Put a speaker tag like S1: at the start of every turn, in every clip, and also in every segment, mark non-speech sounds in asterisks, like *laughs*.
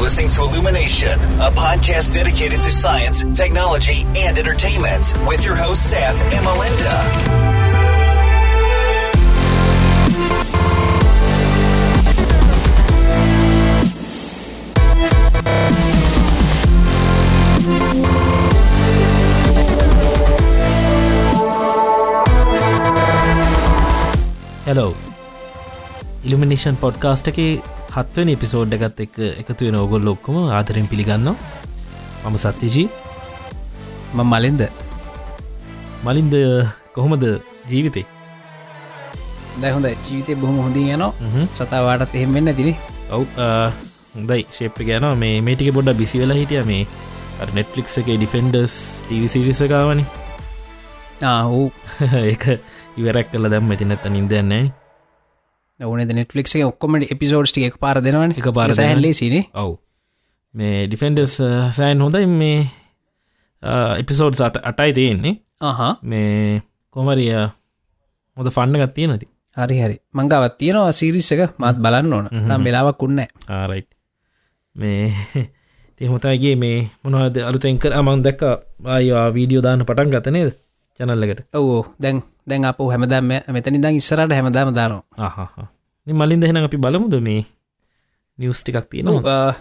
S1: listening to Illumination, a podcast dedicated to science, technology, and entertainment with your hosts, Seth and Melinda.
S2: Hello Illumination podcast එක හත්වෙන episode එකත් එක් එකතු වෙන ඔගොල් ලොක්කම ආදරෙන් පිළිගන්න මම සත්‍යජී
S3: මං මලින්ද
S2: මලින්ද කොහොමද ජීවිතේ
S3: දැහොඳ ජීවිතය බොහොම හොඳින් යන සතවාටත් එහෙම වෙන්න තින
S2: ඔව් හොඳයි ශේප් ගෑන මේ මේටික බොඩ්ඩ බිසිවෙලා හිටිය මේ නෙට්ලික් එක ඩිෆෙන්ඩස් ටීවිසිරිසකාවනි
S3: හූ
S2: *laughs* ඒක ඉවරක් කල දැම් ඇති නැත්ත නින්දන්නේ
S3: ඕන නෙටලික් ඔක්කොමට එපිසෝඩ්ට එක පාර දෙනවන
S2: එක පාර දෙනවනේ.
S3: හැල්ලේ සින
S2: ඔව් මේ ඩිෆෙන්ඩස් සෑන් හොඳයි මේ එපිසෝඩ් සට අටයි තියෙන්නේ
S3: හා
S2: මේ කොමරිය මොද ෆන්න ගත්තිය නති
S3: හරි හරි මංගවත් තියෙනවා සිරිස් එක මත් බලන්න ඕන තම් වෙලාවක් උන්න
S2: ආරයිට් මේ *laughs* තිහොතයිගේ මේ මොනවද අලුතෙන්කර අමන් දැක්ක ආයවා වීඩියෝ දාන පටන් ගතනේද චැනල්ලකට
S3: ඔවෝ දැන් දැන් අප හැමදම මෙතනි දං ඉස්සරට හැමදාම දානවා
S2: ආහා මලින් දෙහෙන අපි බලමුද මේ නිියස් ටිකක් තියෙනවා
S3: අ,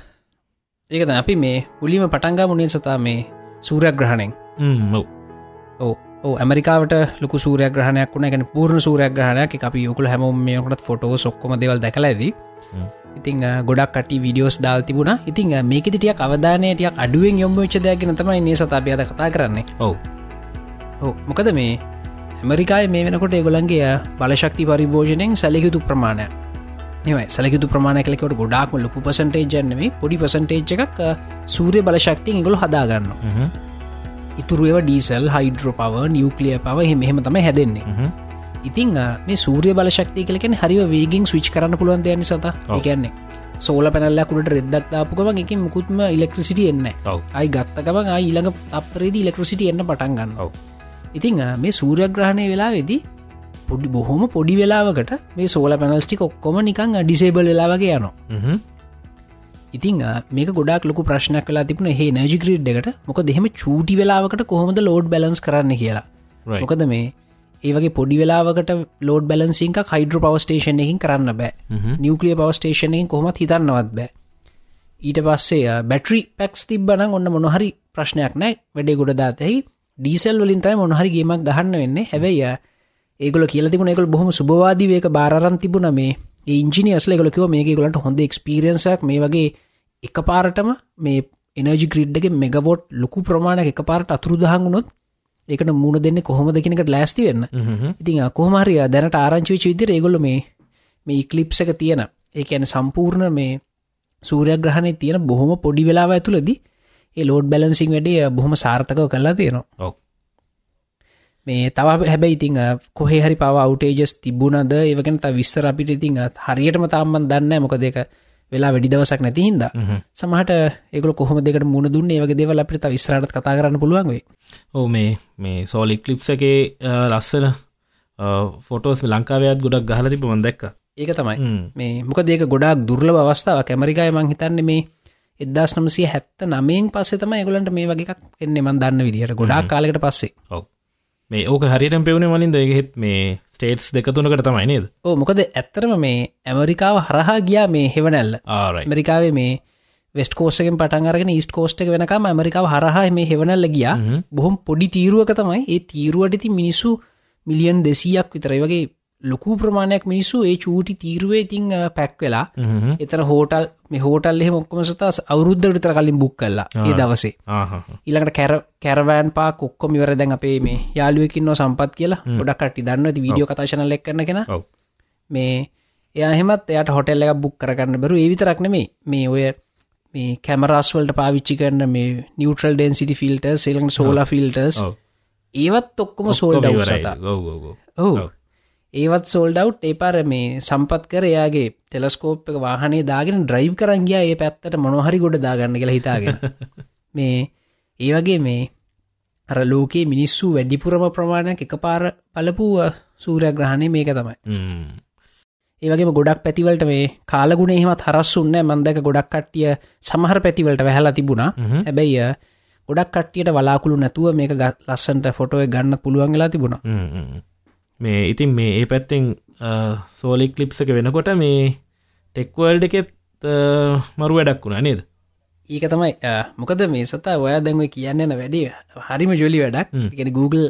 S3: ඒකද අපි මේ උලිම පටන්ගා මුණේ සතා මේ සූරයක් ග්‍රහණයෙන්
S2: මව්
S3: ඕ ඕ ඇමරිකාට ලොක සූරයක් ග්‍රහණයක් වුණ ගැන පූර්ණ සූරයක් ග්‍රහණයක් එක අපි යුකුල හැමෝම් මේකට ෆොටෝ සොක්කොම දෙවල් දැකලඇද
S2: හ්ම්.
S3: ඉතිං අ, ගොඩක් කට විඩියෝස් දාල් තිබුණ ඉතිං අ, මේක ටියක් අවධානයටයක් අඩුවෙන් යොම් විච්චදයක්ගෙන තමයි නිය සතාපියද කතා කරන්නේ
S2: ඔව්
S3: ඕ මොකද මේ ඇමරිකාය මේ වෙනකොට ඒගොලන්ගේ අ, බලශක්ති පරිභෝජනයෙන් සැලිහිුතු ප්‍රමාණය මෙමයි සැලිහිුතු ප්‍රමාණය කලෙකට ගොඩාක්ම ලොකු පසටේජන්නම පොඩි පසටේජ් එකක් අ, සූර්ය බලශක්තිය ඉගොල හදාගන්න
S2: හ්ම්.
S3: ඉතුරුව ඩීසල් හයිඩ්‍රෝ පව නිියවක්ලිය පව හෙමහෙම තම හැදෙන්නේ
S2: හ්ම්.
S3: ඉතිං අ, මේ සූර්ය බලශක්තිය කලකෙන හරිව වේගින් ස්විච් කරන්න පුළුවන් දෙයනි සත
S2: ඔව්.
S3: කියන්නේ සෝල පැනල්ලකුට රෙද්දක් දාපුකම එක මුකුත්ම ඉලෙක්ට්‍රසිටි එන්න
S2: ඔව්.
S3: අයි ගත්තකම ආයි ඊළඟ අපරේද ඉලෙක්ට්‍රසිටි එන්න පටන් ගන්න
S2: ඔව්.
S3: ඉතිං අ, මේ සූරයග්‍රහණය වෙලා වෙදි පොඩි බොහොම පොඩි වෙලාවකට මේ සෝල පැනල්ස්ටික ඔක්කොම නිකං ඩිසේබල් වෙලාවගේ යනවා
S2: හ්ම්.
S3: ඉතිං අ, මේක ගොඩක් ලොකු ප්‍රශ්නයක් වෙලා තිබුණ හේ නජිග්‍රීඩ් එකට මොක දෙහෙම චූටි වෙලාවකට කොහොමද ලෝඩ් බැලන්ස් කරන්න කියලා
S2: Right.
S3: මොකද මේ ඒවගේ පොඩි වෙලාවකට ලෝඩ් බැලන්සිංක හයිඩ්‍ර පවස්ටේෂනයකින් කරන්න බෑ නිියවක්ලිය පවස්ටේෂනයෙන් කොමත් හිතන්නවත් බෑ ඊට පස්සේ අ, බැටරි පැක්ස් තිබ්බන ඔන්න මොනොහරි ප්‍රශ්නයක් නෑ වැඩේ ගොඩ දාතැයි ඩීසල් වලින්තයි මොනහරි ගේමක් ගහන්න වෙන්නේ හැබැයි අ, ඒගොල කියල තිබුණ එකක බොහොම සුභවාදීවයක බාරන් තිබුණ මේ ඉංජිනියස්ල එකලකව මේකගොලට හොඳ එක්ස්පිරෙන්සක් මේ වගේ එක පාරටම මේ එනජි ග්‍රිඩ්ඩගේ මෙගවොට් ලොකු ප්‍රමාණක එක පාට අතුරුදහංගුණොත් ඒකට මුණ දෙන්න කොහොම දෙකනකට ලෑස්ති වෙන්න
S2: හ්ම්.
S3: ඉතින් අකෝමහරිය දැනට ආරංචිවිච විදිර ඒගොල මේ මේ ඉක්ලිප්ස එක තියෙන ඒඇන සම්පූර්ණ මේ සූරයග්‍රහණය තියෙන බොහොම පොඩි වෙලාව ඇතුලදි ඒ ලෝඩ් බැලන්සිං වැඩේ බොහොම සාර්ථකව කරලා තියෙනවා
S2: ඔව්.
S3: මේ තව හැබැයි ඉතිං කොහේ හරි පව අවටේජස් තිබුණද ඒවගෙන ත විස්තර අපිට ඉතිං හරියටම තාම්මන් දන්න මොක දෙක වෙලා වැඩි දවසක් නැතිහින්ද
S2: හ්ම්.
S3: සමහට ඒකල කොහොම දෙකට මුණ දුන්න ඒවගේ දෙවල අපිට ත විස්රට කතා කරන්න පුළුවන්වේ
S2: ඕ මේ මේ සෝලි කලිප්ස එකේ අ, ලස්සන ෆොටෝස් ලංකාවයත් ගොඩක් ගහල තිබ මන්දැක්ක
S3: ඒක තමයි මේ මොක දෙක ගොඩක් දුර්ල අවස්ථාව කැමරිකාය මං හිතන්නේ මේ එදදාස් නමසය හැත්ත නමයෙන් පස්සේ තම ඒගොලන්ට මේ වගේක් එන්නේ මන් දන්න විදිහට ගොඩක් කාලෙකට පස්සේ
S2: ඔව් මේ ඕක හරිටම් පෙවුණේ මලින් දෙගෙත් මේ ස්ටේට්ස් දෙකතුනකට තමයි නේද
S3: ඕ මොකද ඇත්තරම මේ ඇමරිකාව හරහා ගියා මේ හෙවනැල්ල
S2: ආරයි
S3: ඇමරිකාවේ මේ වෙස්ට කෝසකෙන් පටන්ගරගෙන ස්ට කෝස්ටක වෙනකම ඇමරිකාව හරහා මේ හෙවනල්ල ගියා බොහොම පොඩි තීරුවක තමයි ඒ තීරුවටති මිනිස්සු මිලියන් දෙසීයක් විතරයි වගේ ලොකු ප්‍රමාණයක් මිනිස්සු ඒ චූටි තීරුවේ ඉතිං අ, පැක් වෙලා එතන හෝටල් මේ හෝටල් එහෙ මොක්කම සතස් අවුද්ධ තර කලින් බුක් කල්ලා ඒ දවසේ
S2: ආහ
S3: ඊළඟට කැර කැරවෑන් පා කොක්කොම ඉවර දැන් අපේ මේ යාලුවකින් නො සම්පත් කියලා ගොඩක්ටි දන්න ඇති වීඩියෝ කතාශනල එක් කරන කෙන
S2: ඔව්.
S3: මේ එයහෙමත් එයට හොටෙල් එක බුක් කරගන්න බරු ඒවිතරක්න මේ මේ ඔය මේ කැමරස්වල්ට පාවිච්චි කරන්න මේ නිියටල් ඩන් සිටි ෆිල්ට සෙලන් සෝලා ෆිල්ටර්ස්
S2: ඔව්.
S3: ඒවත් ඔක්කොම සෝල්ඩ සතා ඔහු
S2: ඔව්.
S3: ඒවත් සෝල්ඩව් ඒ පර මේ සම්පත් කර එයාගේ තෙලස්කෝප් එක වාහනේ දාගෙන ඩ්‍රයිව් කරන්ගයා ඒ පැත්තට මොනොහරි ගොඩ දාගන්න කියලා හිතාගෙන
S2: *laughs*
S3: මේ ඒ වගේ මේ අර ලෝකයේ මිනිස්සු වැඩිපුරම ප්‍රමාණයක් එක පාර පලපු සූරය ග්‍රහණය මේක තමයි ඒවගේ ගොඩක් පැතිවලට මේ කාලගුණ එහෙමත් හරස්සුන්න මන්දක ගොඩක් කට්ටිය සමහර පැතිවලට වැහලා තිබුණා
S2: හ්ම්.
S3: හැබැයි අ, ගොඩක් කට්ටියට වලාකුළු නැතුව මේක ග- ලස්සන්ට ෆොටෝය ගන්න පුළුවන්ගලා තිබුණ
S2: හ්ම්, හ්ම්. මේ ඉතින් මේ ඒ පැත්තෙන් සෝලි කලිප්ස එක වෙනකොට මේ ටෙක්වල්ඩ එකෙත් අ, මරු වැඩක් වුණා නේද
S3: ඒක තමයි අ, මොකද මේ සතා ඔයා දැන්ව කියන්න න වැඩේ හරිම ජොලි වැඩක්
S2: හ්ම්.
S3: ගෙන Google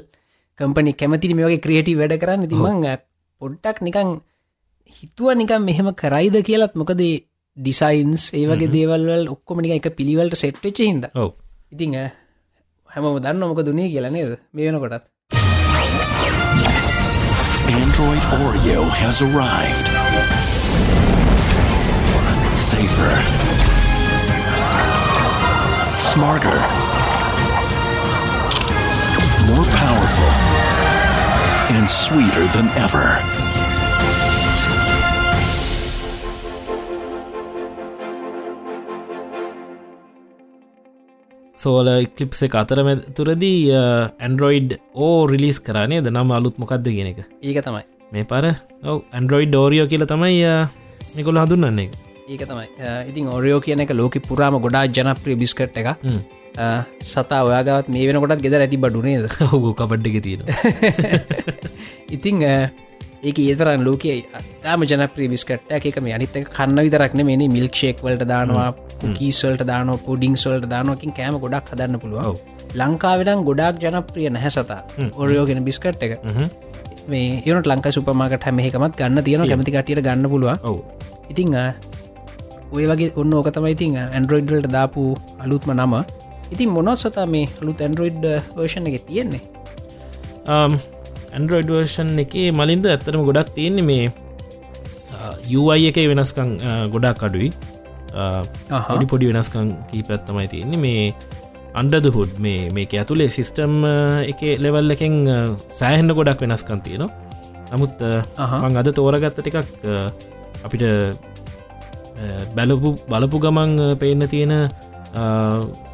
S3: කම්පනි කැමති මේ වගේ ක්‍රියටි වැඩ කරන්න තිමං පොඩ්ටක් නිකං හිතුව නිකම් මෙහෙම කරයිද කියලත් මොකද ඩිසයින්ස් ඒ වගේ දේවල්වල් ඔක්කොමනික එක පිළිවලට සෙට්ටච හිද
S2: ඔව
S3: ඉතිං අ, හැමම දන්න මොක දුනේ කියලා නේද මේ වෙනකොටත්
S1: Android Oreo has arrived. Safer. Smarter. More powerful. And sweeter than ever.
S2: සෝල කලිප්ස එක අතරම තුරදී ඇන්ඩරෝයිඩ් ඕ රිලිස් කරනය ද නම් අලුත් මොකක්ද ගෙන එක
S3: ඒක තමයි
S2: මේ පර ඔව ඇන්ඩරෝයිඩ් ෝරියෝ කියල තමයි නිකුල *laughs* හඳුන්නන්නේ එක
S3: ඒක තමයි අ, ඉතින් ඔරයෝ කියන එක ලෝක පුරාම ගොඩා ජනප්‍රිය බිස්කට් එක
S2: හ්ම්.
S3: අ, සතා ඔයාගත් මේ වෙනකොටත් ගෙදර ඇති බඩුනේද
S2: ඔහු කබඩ්ඩ එක තියෙන
S3: *laughs* ඉතිං අ, ඒක ඒතරන් ලෝකයේ අතාම ජනප්‍රී විස්කට්ට එක මේ අනිත්තක කන්න විතරක්න මේ මිල්ක්ෂේක් වලට දානවා කීස්වල්ට දාන පොඩිින් සොල්ට දානෝකින් කෑම ගොඩක් හදන්න පුළුවන්
S2: ඔව්.
S3: ලංකාවෙනම් ගොඩක් ජනප්‍රිය නැහැ සතා ඔරයෝගෙන බිස්කට් එක මේ ඒනට ලංකා සුපමාකට හැමෙකමත් ගන්න තියෙන කැමතිකටියට ගන්න පුළුවන්
S2: ඔව
S3: ඉතිං අ, ඔය වගේ ඔන්න ඕක තමයි ඉතින් ඇන්ඩරෝයිඩ්වලට දාපු අලුත්ම නම ඉතින් මොනොත් සතා මේ අලුත් ඇන්ඩරෝයිඩ් වර්ෂණ එක තියෙන්නේ
S2: ඇන්ඩරෝයිඩ්වර්ෂන් එක මලින්ද ඇත්තරම ගොඩක් තියෙන්නේ මේ යුවයි එක වෙනස්කං ගොඩක් අඩුයි
S3: අහා.
S2: හඩි පොඩි වෙනස්කං කීපත් තමයි තියෙන්නේ මේ අන්ඩද හුඩ් මේ මේක ඇතුළේ සිිස්ටම් එක ලෙවල් එකෙන් අ, සෑහෙන්න ගොඩක් වෙනස්කන් තියෙනවා නමුත් අ,
S3: අහා.
S2: මං අද තෝරගත්ත ටිකක් අ, අපිට අ, බැලපු බලපු ගමන් අ, පේන්න තියෙන අ,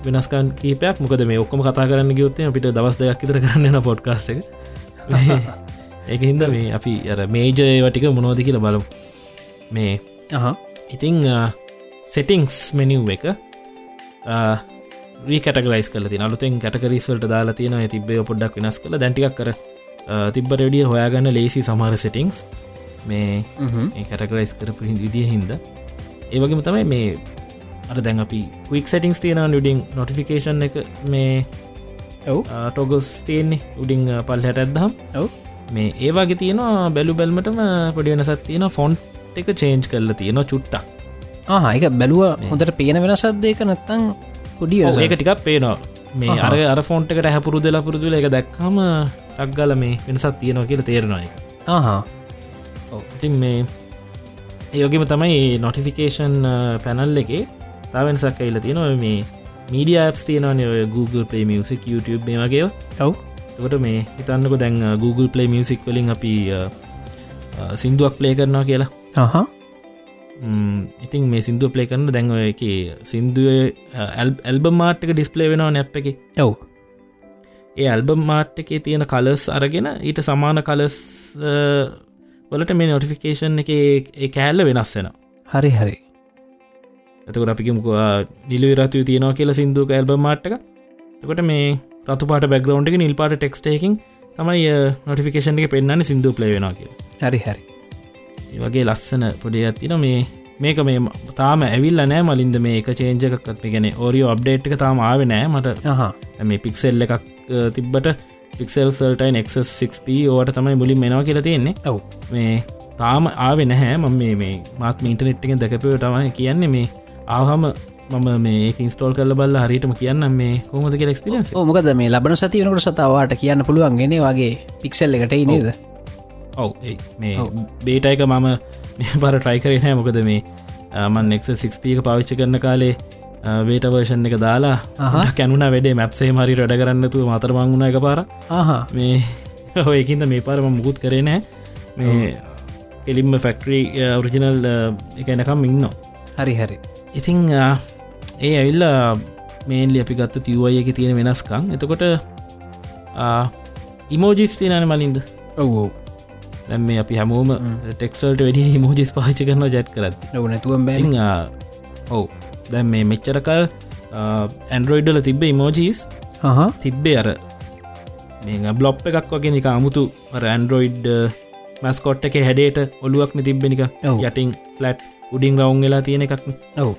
S2: වෙනස්කන් කීපයක් මොකද මේ ඔක්කම කතා කරන්න ගියුත්තේ අපිට දවස් දෙයක් ඉතර කරන්න පොඩ්කාස්ට එක ඒක හින්ද මේ අපි අර මේජයවටික මොනෝද කියල බලු මේ
S3: අහා.
S2: ඉතිං සෙටිංස් මෙනිව් එක කටගලයිස් කල ති අලුතෙන් කටකරිස්වලට දාලා තියෙන තිබේ පොඩ්ඩක් වෙනස් කළ දැටික් කර අ, තිබ්බ රෙඩිය හොයාගන්න ලේසි සමහර සිටිංස් මේ
S3: හ්ම්.
S2: කටකරයිස් කරපු හින්- විදිය හින්ද ඒවගේම තමයි මේ අර දැන් අපි ක්වික් සටිංස් තියෙන ඩිඩින් නොටිෆිකේෂන් එක මේ
S3: ඔව්
S2: ටෝගොස් තියෙන්නේ උඩින් පල් හැටත්දම්
S3: ඔව්
S2: මේ ඒවාගේ තියෙනවා බැලු බැල්මටම පොඩි වෙනසත් තියෙන ෆොන්් එක චේන්ජ් කරලා තියෙන චුට්ටක්
S3: ආහ එක බැලුව හොඳට පේන වෙනසද්දේක නැත්තං පොඩි වෙනසක්.
S2: ඒක ටිකක් පේනවා මේ අර අර ෆෝන්ට්කට හැපුරුද ලපුරුදුල එක දැක්හම ටක්ගල මේ වෙනසත් තියෙනවා කියල තේරෙනයි
S3: ආහා
S2: ඉතින් මේ ඒයෝගම තමයි නොටිෆිකේෂන් පැනල් එකේ තාවෙනසක් ඉල්ල තියෙනවා ඔය මේ මීඩියප්ස් තියෙනවන Google Play Music YouTube මේ වගේ
S3: ඔව්
S2: තකට මේ හිතන්නක දැන් අ, Google Play Music වලින් අපි අ, අ, සින්දුවක් ප්ලේ කරනවා කියලා
S3: ආහා
S2: ම්ම්, ඉතින් මේ සිින්දුව ප්ලේ කරන්න දැන්ව එක සිින්දුව ඇල්බ මාට්ක ඩිස්පලේ වෙනවා නැප් එකේ
S3: ඔව්
S2: ඒ ඇල්බම් මාට් එකේ තියෙන කලස් අරගෙන ඊට සමාන කලස් අ, වලට මේ නොටිෆිකේෂන් එක ඒ කෑල්ල වෙනස් වෙන
S3: හරි හරි
S2: ඇතකට අපිකිමුක නිලි රතු තියෙනවා කියල සිින්දුක ඇල්බම් මාට්ක තකට මේ රතුපාට බැග්‍රවන්් එක නිල්පාට ටෙක්ස්ටේකින් තමයි නොටිෆිකේෂන් එක පෙන්න්න සිින්දු ප්ලේ වෙන කිය
S3: හරි හරි
S2: ඒ වගේ ලස්සන පොඩේ ඇතින මේ මේක මේ ම- තාම ඇවිල්ල නෑ මලින්ද මේ එක චේන්ජකත් ගැන ඕරියෝ අප්ඩේට් එක තාම ආව නෑ මට
S3: ආහා
S2: මේ පික්සෙල් එකක් අ, තිබ්බට පික්සෙල් සල්ටයින් එක්ක් ඕට තමයි මුලින් මෙනවා කියලා තියෙන්නේ
S3: ඔව්
S2: මේ තාම ආව නැහැ ම මේ මේ මාත් ඉන්ටනෙට්ගෙන් දැකපවටම කියන්නේ මේ ආහම මම මේ ඉස්ටෝල් කල බල්ල හරිටම කියන්න මේ හොමද කිය ක්ස්පිරන්ස
S3: ඕ මොකද මේ ලබන සති වෙනකට සතවාට කියන්න පුළුවන් ගෙන වගේ පික්සල් එකට නේද
S2: ඔව මේ බේට එක මම මේ බර ට්‍රයිකරේ නෑ මොකද මේ මන් එක්ක්ක පාවිච්චි කරන කාලේ වේටවර්ෂන් එක දාලා කැනුන වැඩේ මැප්සේ මරි වැඩ කරන්නතු මතරමං වුණ එක පාර
S3: ආහා
S2: මේ *laughs* හොයකින්ද මේ පාරම මුකුත් කරේ නෑ මේ uh, එලිම්ම ෆෙක්ටරී ඔරිජිනල් එකනකම් ඉන්න
S3: හරි හරි
S2: ඉතිං අ, uh, ඒ ඇවිල්ල මේන්ලි අපි ගත්ත තිව්වය එක තියෙන වෙනස්කං එතකොට ඉමෝජිස් තියනන මලින්ද
S3: ඔව් ඔව්
S2: දැම් මේ අපි හැමෝම ටෙක්ස්ටල්ට වැඩිය *laughs* මෝජිස් පාච කරන ජැත් කරත්
S3: නැතුවම් බැ
S2: ඔව දැම් uh, මේ මෙච්චරකල් ඇන්ඩරෝයිඩල තිබ්බ ඉමෝජීස්
S3: හා
S2: තිබ්බේ අර මේ බ්ලොප් එකක් වගේ නික අමුතු රැන්ඩරෝයිඩ් මස්කොට් එක හැඩේට ඔලුවක්න තිබ්බෙනික
S3: ඔව්.
S2: යටින් ෆලට් උඩින් රවුන් වෙලා තියෙන එකක්න
S3: ඔව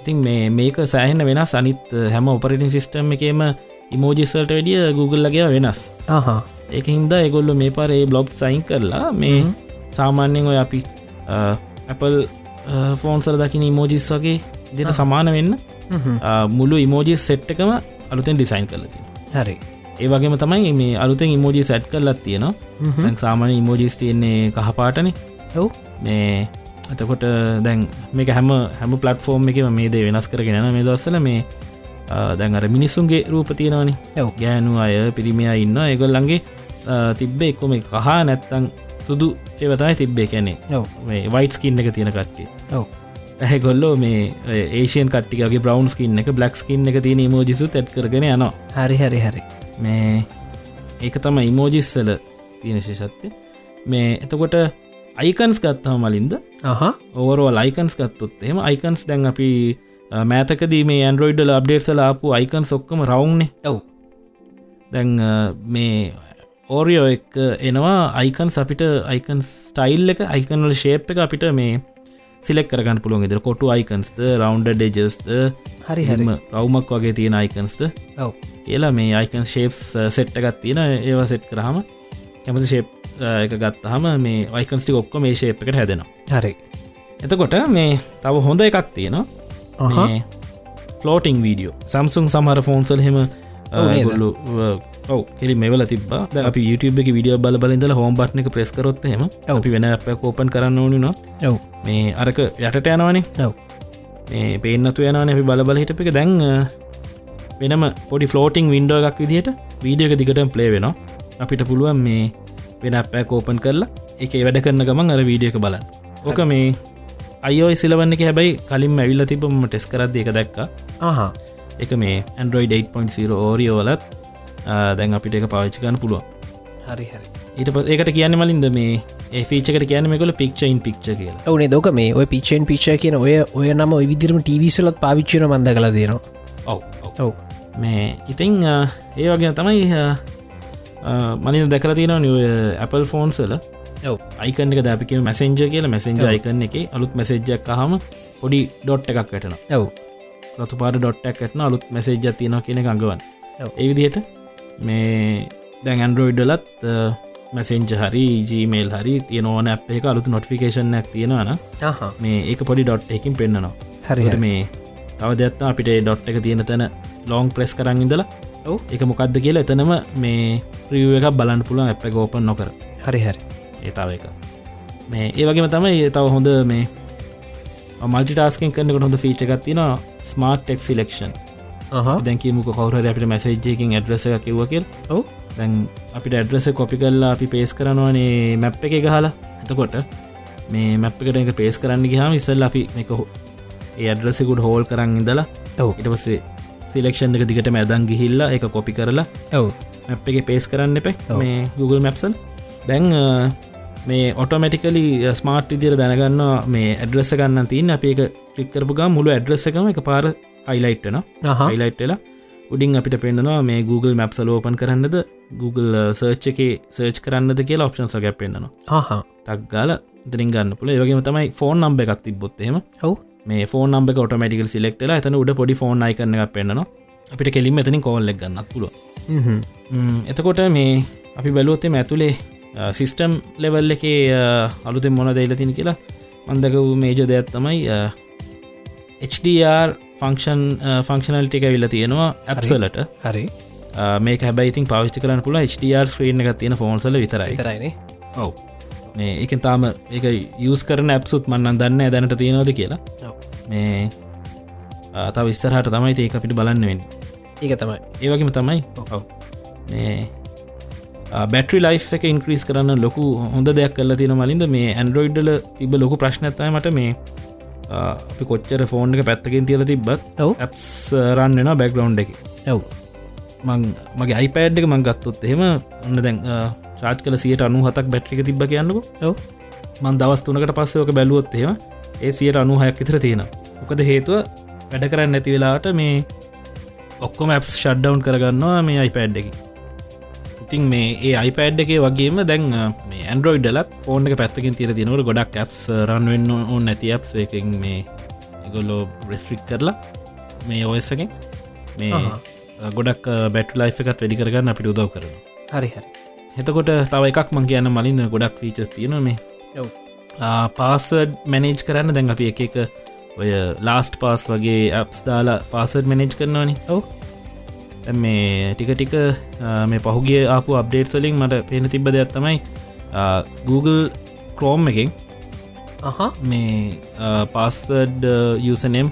S2: ඉතින් මේ මේක සෑහෙන වෙනස් අනිත් හැම ඔපරටින් සිිස්ටම් එකේම ඉමෝජිස්සල්ට වැඩිය Googleලගේ වෙනස්
S3: හා
S2: එක හින්දා එගොල්ලු මේ පරේ බ්ලොබ් සයින් කරලා මේ සාමාන්‍යෙන් ඔය අපි Appleල් ෆෝන්සර දකින ඉමෝජිස් වගේ දෙට සමාන වෙන්න අ, මුළු ඉමෝජිස් සෙට්ටකම අලුතෙන් ඩිසයින් කරලති
S3: හරි
S2: ඒ වගේම තමයි මේ අලුතෙන් ඉමෝජී සැට් කරලත්
S3: හ්ම්.
S2: තියෙනවා සාමාන ඉමෝජිස් තියෙන්නේ කහපාටන
S3: ඔව්
S2: මේ එතකොට දැන් මේක හැම හැම පලටෆෝර්ම් එකම මේ දේ වෙනස් කරගෙන මේ දස්සල මේ අ, දැන් අර මිනිස්සුන්ගේ රූප තියෙනවානි
S3: ඔව්.
S2: ගෑනු අය පිරිමියා ඉන්න ඒගොල්ලන්ගේ අ, තිබ්බේ එක්කොම කහා නැත්තං සුදු ඒවතයි තිබ්බේ කැනෙ
S3: ඔව්
S2: මේ වයිට් කින්න එක තියෙන කට්ටේ
S3: ඔව්
S2: ඇහැගොල්ලෝ මේ ඒෂයන් කට්ටිකගේ බ්‍රවන්් කින්න එක බ්ලක්ස් කින්න එක තියෙන මෝජිසු තැත් කරගෙන යනවා
S3: හරි හරි හරි
S2: මේ ඒක තම ඉමෝජිස්සල තියෙන ශේෂත්වය මේ එතකොට අයිකන්ස් ගත්තා මලින්ද
S3: හා
S2: ඕරෝ ලයිකන්ස් ගත්තොත් එම අයිකන්ස් දැන් අපි අ, මෑතකදී මේ ඇන්ඩරෝයිඩල් අප්ඩේට්සල ආපු අයිකන් සොක්කම රවුන්නේ
S3: ඔව්
S2: දැන් අ, මේ ඕරියෝ එක එනවා අයිකන් අපිට අයිකන් ස්ටයිල් එක අයිකන්වල ශේප් එක අපිට මේ සිලෙක් කරගන්න පුළුවන් ඉදිර කොටු අයිකන්ස්ද රවන්ඩ ඩෙජස්ද
S3: හරි හරි
S2: හරිම රවුමක් වගේ තියෙන අයිකන්ස්ද
S3: ඔව්
S2: කියලා මේ uh, අයිකන් ශේප්ස් සෙට්ට එකත් තියෙන ඒව සෙට් කරහම කැමති ශේප් එක ගත්තහම මේ අයිකන්ස්ටි ඔක්කො මේ ශේප් එකට හැදෙනවා
S3: හරි
S2: එතකොට මේ තව හොඳ එකක් තියෙනවා
S3: අහහ.
S2: මේ ෆලෝටිං වීඩියෝ සම්සුන් සමහර ෆෝන්සල් හෙම
S3: ඔව් නේද?
S2: ගොල්ලු ඔව කෙරි මෙවල තිබා ද අපි YouTube එක විඩියෝ බල බලින්දල හෝම්බට් එක ප්‍රෙස් කරොත් හෙම
S3: ඔව්.
S2: අපි වෙන අප කෝපන් කරන්න ඕනිනවා
S3: ඔව්
S2: මේ අරක යටට යනවානේ
S3: ඔව්
S2: මේ පේනතු යනන අපි බලබල හිටප එක දැන් අ, වෙනම පොඩි ෆලෝටිං වින්ඩෝ එකක් විදිහට වීඩියක දිගටම ප්ලේ වෙනවා අපිට පුළුවන් මේ වෙන අපෑ කෝපන් කරලා එක වැඩ කරන ගමන් අර වීඩියක බලන්න ඕක මේ අයෝයි සිලවන්න එක හැබැයි කලින් ඇවිල්ල තිබම ටෙස් කරද එක දැක්ක
S3: හා
S2: එක මේ ඇන්ඩරෝයි 8.0 ඕරියෝලත් දැන් අපිට එක පාවිච්චිකන්න පුළුවන්
S3: හරි හරි
S2: ඊට ප ඒකට කියන්න මලින්ද මේ ඒ ෆීචකට කියනමකොල පික්චයින් පික්ච කියලා
S3: ඔවනේ දෝක මේ ඔය පිච්චෙන් පිච්ච කියන ඔය ඔය නම ඔය විදිරම ටීවිසලත් පාවිච්චින මන්ද කලා දේනවා
S2: ඔව් ඔව්
S3: ඔව්
S2: මේ ඉතිං ඒ වගේ තමයි මනි දැකර තින Apple ෆෝන්සල
S3: ඔව්
S2: අයිකන එක දැපික මැසෙන්ජ කියල මැසෙන්ජ අයිකන එක අලුත් මැසෙජ්ජක් හම පොඩි ඩොට් එකක් ඇටන
S3: ඔව්
S2: රතු පාට ඩොට්ටක් ඇටන අලුත් මැසෙජ්ජ තියෙන කියන ගඟවන්
S3: ඔව්.
S2: ඒවිදියට මේ දැන් ඇන්ඩරෝයිඩලත් මැසෙන්ජ හරි ජීමේල් හරි තියනවන අප එක අලුත් නොටිකේෂන් ඇක් තියෙනවන
S3: හා
S2: මේ ඒක පොඩි ඩොට් එකින් පෙන්න්නනවා
S3: හරි
S2: ඒකට මේ තවදත්න අපිට ඩොට් එක තියෙන තැන ලෝං ප්‍රෙස් කරන්න ඉඳලා
S3: ඔව්.
S2: එක මොකක්ද කියලා එතනම මේ ප්‍රියව එකක් බලන්න පුළුවන් අප ගෝපන් නොකර
S3: හරි හරි
S2: ඒතාව එක මේ ඒවගේම තමයි ඒ තව හොඳ මේ මල්ටිටස්කින් කරනකට හොඳ ෆීචකත් තින ස්මාර්ට් ටෙක් ලක්ෂන්
S3: හා
S2: දැන්කීමක කවර අපිට මැසේජ්ජයකින් ඇඩ්‍රස එක කිව්වකල්
S3: ඔව්
S2: දැන් අපිට ඇඩ්‍රස කොපි කල්ලා අපි පේස් කරනවානේ මැප් එක ගහලා එතකොට මේ මැප්ිකට එක පේස් කරන්න ගහම ඉස්සල් අපි එක හෝ ඒ ඇඩ්‍රෙසකුඩ හෝල් කරන්න ඉඳලා
S3: ඔව්
S2: ඊට පස්සේ සිලෙක්ෂන් එක දිගට මැදන් ගිහිල්ලා එක කොපි කරලා
S3: ඔව්
S2: මැප් එක පේස් කරන්න එපේ මේ Google මැප්සල් දැන් අ, මේ ඔටෝමටිකලි ස්මාර්ට් විදිර දැනගන්නවා මේ ඇඩ්‍රෙස ගන්න තින් අපි එක ටික්කරපු ගම් මුළු ඇඩ්‍රෙස එකම එක පාර හයිලයිට්න
S3: හා
S2: හයිලයිට්ලා උඩින් අපිට පෙන්න්නනවා මේ Google මැප්සල ඕපන් කරන්නද Google සර්ච් එකේ සර්ච් කරන්නද කියලා ඔප්ෂන් සගැ පෙන්න්නනවා
S3: හා
S2: ටක් ගාල දරින් ගන්න පුළ ඒවගේ තමයි ෆෝන් නම්බ එකක් තිබොත්තේම
S3: ඔව්
S2: මේ ෆෝන් නම්බ කොටමටිකල් සිලෙක්ටල ඇතන උඩ පොඩි ෆෝන් අයිකරන එකක් පෙන්න්නනවා අපිට කෙලින් එතනින් කෝල්ලෙක් ගන්න පුළුව
S3: හ්ම්
S2: එතකොට මේ අපි බැලුවොත්තේ ඇතුළේ සිිස්ටම් ලෙවල් එකේ අලුතෙ මොන දෙයිලතින් කියලා මන්දක වූ මේජ දෙයක් තමයි අ, HDR ෆංක්ෂන් ෆංක්ෂනල් ටික විල්ල තියෙනවා ඇප්සලට
S3: හරි
S2: මේ හැබයිති පවිච්ච කරන්න පුළ HDR ස්ක්‍රීන් එක තියෙන ෆෝන්සල විතරයි
S3: විතරයිනේ
S2: ඔව මේ එක තාම එක යස් කරන ඇප්සුත් මන්න දන්න දැනට තියෙනවද කියලා
S3: ඔව්
S2: මේ අතාව විස්සරහට තමයි ඒක අපිට බලන්න වෙන්න
S3: ඒක තමයි
S2: ඒවගේම තමයි ඔව මේ බැටි ලයි් එක ඉන්ක්‍රීස් කරන්න ලොකු හොඳ දෙයක් කල තියෙන මලින්ද මේ ඇන්ඩරෝයිඩ්ඩල තිබ ලොකු ප්‍රශ්නත්තමට මේ අ, අපි කොච්චර ෆෝන් එක පැත්තකින් තියල තිබත්
S3: ඔව්
S2: ඇප්ස් රන්නන බැක්ලෝන්් එක
S3: ඔව්
S2: මං මගේ අයිපෑඩ් එක මං ගත්තොත් එහෙම ඔන්න දැන් චාච් කල සියට අනු හතක් බැට්‍රික තිබ කියන්නක
S3: ඔව්
S2: මන් දවස්තුනකට පස්සයෝක බැලුවොත්තේම ඒ සියට අනු හයක් ඉතර තියෙන මොකද හේතුව වැඩ කරන්න නැති වෙලාට මේ ඔක්කොම ඇප්ස් ෂඩ්ඩවන් කරගන්නවා මේ අයිපෑඩ් එක ඉතින් මේ ඒ අයිපෑඩ් එකේ වගේම දැන් මේ ඇන්ඩරෝයිඩලත් ඕන්න එක පැත්තකින් තිර දිනවට ගොඩක් ඇප්ස් රන් වෙන්න ඕන්න නැති ඇප් එකෙන් මේ ගොල්ලෝ බ්‍රෙස්ට්‍රික් කරලා මේ ඔයසකින් මේ ගොඩක් බැට ලයි් එකත් වැඩි කරගන්න අපිට උදව කරන
S3: හරි හරි
S2: එතකොට තව එකක් මං කියන්න මලින්ද ගොඩක් ්‍රීචස් තියෙන මේ
S3: ඔව්
S2: පාසඩ් මැනේජ් කරන්න දැන් අපි එක එක ඔය ලාස්ට් පාස් වගේ ඇප්ස් දාලා පාසඩ් මැනේජ් කරනවානි
S3: ඔව්
S2: දැන් මේ ටික ටික අ, මේ පහුගේ ආපු අප්ඩේට් සලින් මට පේන තිබ්බ දෙයක් තමයි අ, Google ක්‍රෝම් එකෙන්
S3: අහා
S2: මේ uh, පාස්සඩ් යසනම්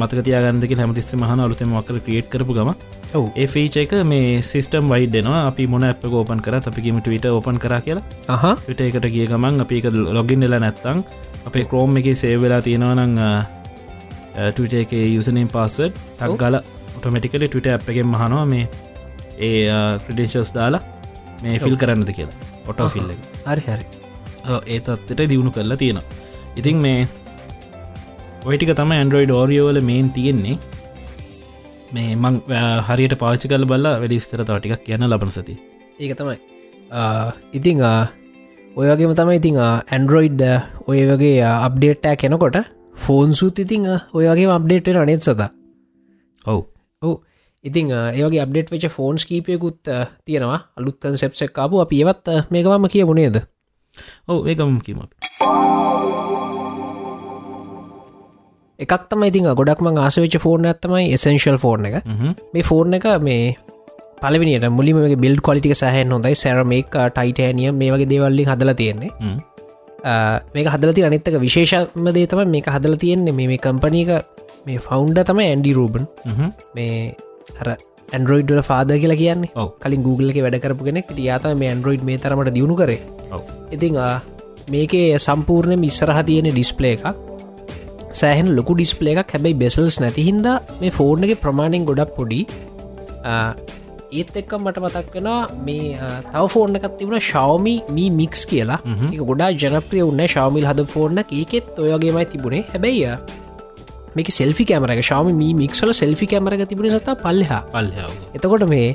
S2: මතකතියාගන්දක හැමතිස්ස මහන අලුතම වක්කර ක්‍රියට් කරපු ගම
S3: ඔව්
S2: ඒ ෆීච එක මේ සිිස්ටම් වයිඩ්නවා අපි මොන අප ෝපන් කර අපිගේම ටවිට ඕපන් කර කියලා
S3: අහා
S2: විට එකට ගිය ගමන් අපි එක ලොගින් වෙලා නැත්තං අපේ ක්‍රෝම් එක සේවෙලා තියෙනවනං ටට එක යසනම් පස්සට් ටක් ගල ඔටමටිකලි ටට අප් එකෙන් මහනවා මේ ඒ ක්‍රඩේශස් දාලා මේ ෆිල් කරන්නද කියලා ඔට ෆිල්ල එක
S3: හරි හරි
S2: ඔව්, ඒ තත්වට දියුණු කරලා තියෙනවා ඉතින් මේ ඔයිටික තම ඇන්ඩරෝයිඩ් ෝරියෝල මේන් තියෙන්නේ මේ මං අ, හරියට පාචි කල බල්ලා වැඩි ස්තර තාටිකක් කියන ලබන සති
S3: ඒක තමයි ආ, ඉතිං ආ, ඔය වගේම තමයි ඉතිං ඇන්ඩරෝයිඩ් ඔය වගේ අප්ඩේට්ටෑ කෙනකොට ෆෝන්සුත් ඉතිං ආ, ඔය වගේ අප්ඩේට්ෙන අනෙත් සතා
S2: ඔවු
S3: ඔහු ඉතිං ආ, ඒ වගේ අප්ඩේට් වෙච ෆෝන්ස් කීපයකුත් ආ, තියෙනවා අලුත්තන් සෙප්සෙක්කාපු අප ඒවත් ආ, මේකමම කියමුණේද
S2: ඔව ඒකම කීම
S3: එකක් තමයි ඉතිං ආ, ගොඩක්ම ආසවෙච ෆෝර්න ඇත්තමයි එසෙන්ශල් ෆෝර්න එක මේ ෆෝර්න එක මේ පලවිනිට මුලිම බිල්් කොලික සහන් හොඳයි සැරමක් ටයිටෑනිය මේ වගේ දේවල්ලින් හදල තියෙන්නේ ආ, මේක හදලති අනිත්තක විශේෂම දේ තම මේක හදල තියෙන්නේ මේ මේ කම්පනීක මේ ෆවන්ඩ තම ඇන්ඩි රූබන් මේ හර ඇන්ඩරෝයිඩ්ල ෆාද කියලා කියන්නේ
S2: ඔව්.
S3: කලින් Google එක වැඩකරපු කෙනෙක් ටියාතම මේ ඇන්ඩරෝයිඩ් මේ තරමට දියුණු කරේ
S2: ඔව
S3: ඉතිං ආ, මේකේ සම්පූර්ණය මිස්සරහ තියෙන ඩිස්පලේ එකක් සෑහන් ලොකු ඩිස්පලේ එකක් හැබැයි බෙසල්ස් නැතිහින්ද මේ ෆෝර්න එක ප්‍රමාණයෙන් ගොඩක් පොඩි ආ, ඒත් එක්ක මට මතක් වෙන මේ ආ, තව ෆෝර්න එකත් තිබුණ ශවමි මී මික්ස් කියලා එක ගොඩා ජනප්‍රිය උන්න ශවමිල් හද ෆෝර්න ඒකෙත් ඔයගේමයි තිබුණේ හැබැයිය මේක සෙල්ි කෑමරක ශවම මී මික්සල සෙල්ි කෑමරක තිබුණ සතා පල්ලෙහා
S2: පල්හාව
S3: එතකොට මේ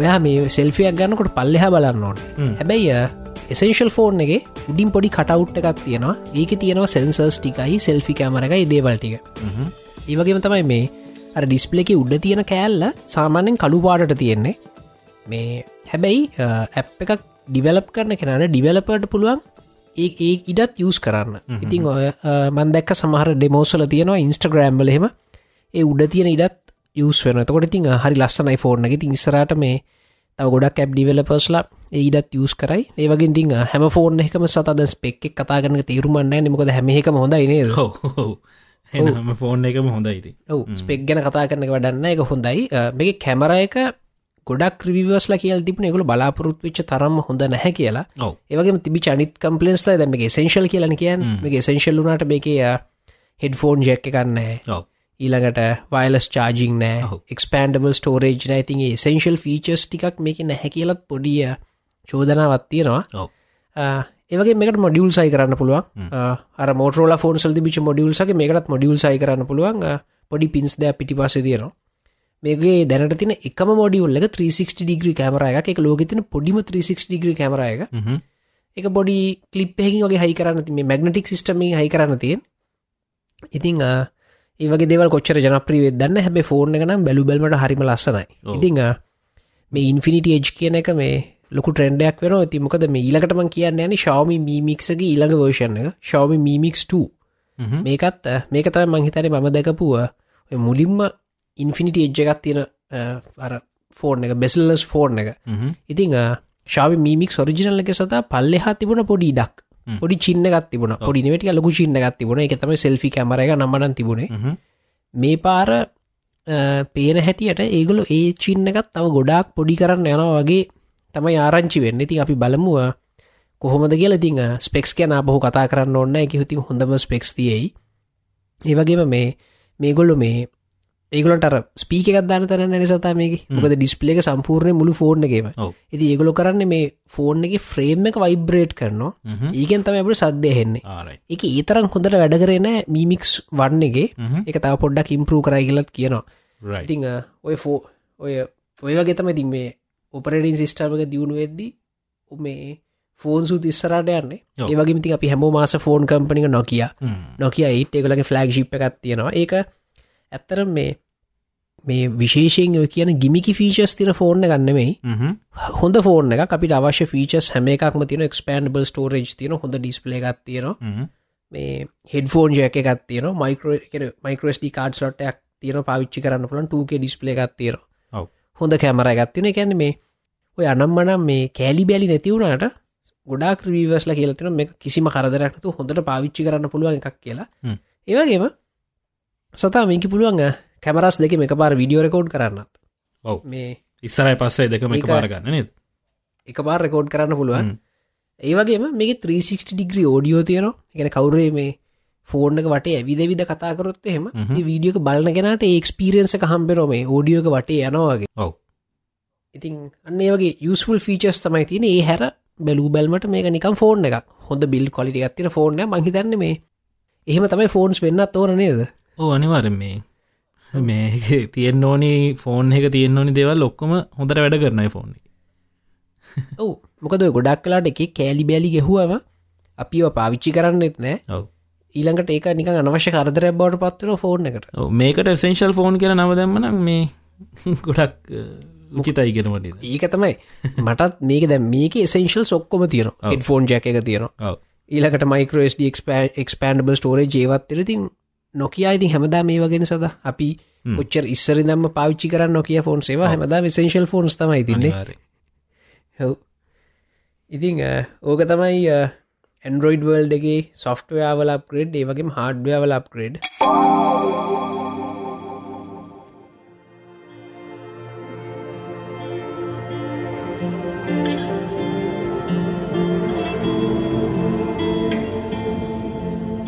S3: ඔයා මේ සෙල්ෆියක් ගන්නකොට පල්ලෙහා බලන්න ඕන හැබැයි එසේශල් ෆෝර්න් එක උඩින් පොඩි කටවුට් එකක් තියෙනවා ඒක තියෙනවා සෙන්සර්ස් ටිකයි සෙල්ෆි කෑමරකයි දේවල්ටික ඒවගේම තමයි මේ අර ඩිස්පලේ එක උඩ තියෙන කෑල්ල සාමාන්‍යෙන් කළුපාටට තියෙන්නේ මේ හැබැයි ඇ් එකක් ඩිවලප් කරන කෙනට ඩිවලපට පුළුවන් ඒ ඒ ඉඩත් යස් කරන්න ඉතින් ඔය මන්දැක්ක සමහර ඩෙමෝසල තියෙනවා ඉන්ස්ටග්‍රම්බල හෙම ඒ උඩ තියෙන ඉඩත් යස් වෙන තකොට ඉතින් හරි ලස්සනයි ෆෝර්න එක ඉස්සරට මේ තව ගොඩක් ඇබ් ඩිවලපස්ලා ඒ ඉඩත් යස් කරයි ඒවගේ ඉතින් හැම ෆෝර්න එකම සතද ස්පෙක්ක් කතාගන්න තේරුමන්න නිමකොද හැමෙක හොඳ නේද
S2: හෝ එම ෆෝන් එකම හොඳයිති
S3: ඔව ස්පෙක් ගැන කතා කරන වැඩන්න එක හොඳයි මේ කැමර එක ගොඩක් ක්‍රවස්ල කියල් තිබන එකකු බලාපොරොත් වෙච්ච තරම් හොඳ නැහැ කියලා
S2: ඔව
S3: ඒවගේ තිබි චනිත් කම්පලෙන්ස් දැම සේශල් කියලන කියන් මේ සේශල් වුනාට මේකය හෙඩ ෆෝන් ජැක්ක කන්නෑ
S2: ඔව
S3: ඊළඟට වයිලස් චාජිං නෑ
S2: ඔව්.
S3: එක්ස්පන්ඩබල් ස්ටෝරේජ් නෑතින් සේශල් ෆීචස් ටික් මේක නැහැ කියලත් පොඩිය චෝදනාවත් තියෙනවා
S2: ඔව
S3: ආ, ඒවගේ මේකට මොඩියල් සයි කරන්න පුළුවන් අර මෝටරෝල ෆෝන් සල්දි ිච මොඩියල්සගේ මේකටත් මොඩියල් සයි කරන්න පුළුවන් ආ, පොඩි පින්ස් දෑ පිටි පස තියනවා මේගේ දැනට තින එක මොඩියල්ල 360 ඩිග්‍රී කෑමරය එක එක ලෝගතින පොඩිම 360 ඩිග්‍රී කෑමරය එක එක බොඩි කලිප්හකින් වගේ හයි කරන්න තිේ මැගනටික් සිිටම හයි කරන්න තියෙන් ඉතිං ආ, ඒ වගේ දෙවල් කොච්චර ජනප්‍රීවේ දන්න හැබ ෆෝර්න එකනම් බැලු බැල්මට හරිම ලස්සනයි
S2: ඔව්.
S3: ඉතිං ආ, මේ ඉන්ෆිනිට එජ් කියන එක මේ ලොක ට්‍රෙන්ඩයක් වෙන තිමකද මේ ඊලකටම කියන්න යන ශවමි මීමික්සගේ ඊළඟ වර්ෂණ එක ශවමි මීමික්ස් 2 මේකත් අ, මේක තම මංහිතන මම දැකපුුව මුලින්ම ඉන්ෆිනිට එජ් එකත් තියෙන අ, අර ෆෝර්න එක බෙසල්ලස් ෆෝර්න එක ඉතිං ශාව මීමික් ොරිජිනල් එක සතා පල්ලෙ හා තිබුණ පොඩි ඩක් පොඩි චින්න ගත් තිබුණ පොඩි නිවැටික ලොකු චින්න ගත් තිබුණ එක තම සෙල්ි කැමරක නම්මන තිබුණේ මේ පාර අ, පේන හැටියට ඒගොලු ඒ චින්නකත් තව ගොඩාක් පොඩි කරන්න යනවා වගේ තමයි ආරංචි වෙන්න ඉතින් අපි බලමුව කොහොමද කියලා ඉතිං ස්පෙක්ස් කියන බොහෝ කතා කරන්න ඔන්න එක හිතින් හොඳම ස්පෙක්ස් තියෙයි ඒවගේම මේ මේගොල්ලු මේ ඒගලට ස්පීක එකක්දාන තරන්න නිසතා මේ මොකද ඩිස්පලේක සම්පූර්ණය මුළු ෆෝර්ණගේම
S2: ඔව්.
S3: ඇති ඒගොලො කරන්නේ මේ ෆෝර්න් එක ෆ්‍රේම් එක වයිබ්‍රේට් කරනවා ඒකෙන් තම අපට සද්‍යයහෙන්නේ
S2: ආරයි
S3: එක ඒතරම් හොඳට වැඩ කරන මීමික්ස් වන්නගේ එක තා පොඩ්ඩක් ඉම්පරූ කරයිගලත් කියනවා
S2: රයි
S3: ඉතිං ඔය ෆෝ ඔය ඔය වගේතම ඉතින් මේ ඔපරඩින් සිිස්ටර්මක දියුණු වෙද්දී මේ ෆෝන් සූ තිස්සරට යන්නේ
S2: ඔව්.
S3: ඒවගේමති අපි හැම මාස ෆෝන් කම්පනික නොකිය නොකිය ඒට එකලගේ ෆලක් ශිප් එකක් තියෙනවා ඒක ඇත්තර මේ මේ විශේෂයෙන් ඔය කියන ගිමිකි ෆීචස් තින ෆෝර්න ගන්නෙමයි හොඳ ෆෝර්න එක අපිට අවශ්‍ය ෆීචස් හැම එකක් තින ක්ස්පන්ඩබල් ස්ටෝරේජ් තියන හොඳ ඩිස්පලේගත් තියෙනවා මේ හෙඩෆෝන් ජයක එකක් තියන මයිකෝ මයිකෝස්ටි කාඩ් සොට්ටයක් තියන පවිච්චි කරන්න පුලන් ටූක ඩිස්පලේ එකක් තියන
S2: ඔව්.
S3: හොඳ කැමර එකත්තින එකැන මේ ඔය අනම්මනම් මේ කෑලි බැලි නැතිවුණට ගොඩා ක්‍රීවස්ල කියලතින මේ කිසිම කරදරක්තු හොඳට පාවිච්චි කරන්න පුළුවන් එකක් කියලා
S2: හ්ම්.
S3: ඒවගේම සතා මේක පුළුවන් කැමරස් දෙක මේ පාර විඩියෝ රකෝඩ් කරන්නත්
S2: ඔව්.
S3: මේ
S2: ඉස්සරයි පස්සේ දෙකම එක
S3: ඒක-
S2: පාරගන්න නද
S3: එක පාර රකෝඩ් කරන්න පුළුවන්
S2: හ්ම්.
S3: ඒවගේ මේ 360 ඩිග්‍රී ෝඩියෝ තියන ගැන කවුරේ මේ ෆෝර්නක වට ඇවිදවිද කතාකරොත් එහෙම
S2: හ්ම්.
S3: වීඩියෝක බලනගෙනට ඒක්ස්පිරියන්ස කහම්බෙරෝ මේ ෝඩියෝක වටේ යනවාගේ
S2: ඔව්.
S3: ඉතින් අන්නේ වගේ යුස්ල් ෆීචස් තමයි තියෙන ඒ හැර බැලූ බැල්මට මේ නිකම් ෆෝර්න එකක් හොඳ බිල් කොලිටි ගත්තින ෆෝර්න මහිතන්න මේ එහෙම තමයි ෆෝන්ස් වෙන්න තෝර නේද
S2: *laughs* ඕ අනිවාර මේ මේ තියෙන් ඕනි ෆෝන් එක තියෙන් ඕනි දෙවල් ඔක්කොම හොඳට වැඩ කරනයි ෆෝන්
S3: ඔව මොකද ඔය ගොඩක් කලාට එක කෑලි බැලි ගෙහුවම අපිව පාවිච්චි කරන්නෙත් නෑ
S2: ඔව්.
S3: ඊළඟට ඒක නික අනවශ්‍ය කරදර බවට පත්වන ෆෝර්න එකට
S2: ඔව්, මේකට සෙන්ශල් ෆෝන් කියලා නව දැම්මන මේ *laughs* ගොඩක් උචිතයි කෙනමට
S3: ඒක තමයි මටත් මේක දැ මේක එසෙන්ශල් සොක්කොම තියන
S2: ඔව්.
S3: ෙඩ ෆෝන් ජැක එක තියෙන
S2: ඔව්.
S3: ඊලකට මයිකෝස්ක්ස්පන්ඩබ ස්ටෝරේ ජේවත්තලතින් නොකයා ඉතින් හැමදා මේ වගෙන සද අපි
S2: හ්ම්.
S3: පුච්චර ඉස්සර දම්ම පාච්චි කරන්න නොකිය ෆෝන් සේවා හැමදා විසේශල් ෆෝන්ස් තමයි තින්නේ
S2: අනිවාර්යෙන්.
S3: හව් ඉතිං අ, ඕක තමයි ඇන්ඩරෝයිඩ් වල්ඩගේ සොෆ්ටවයාවල අප්ග්‍රේඩ් ඒවගේ හාඩ්වයාවල අප්ග්‍රේඩ්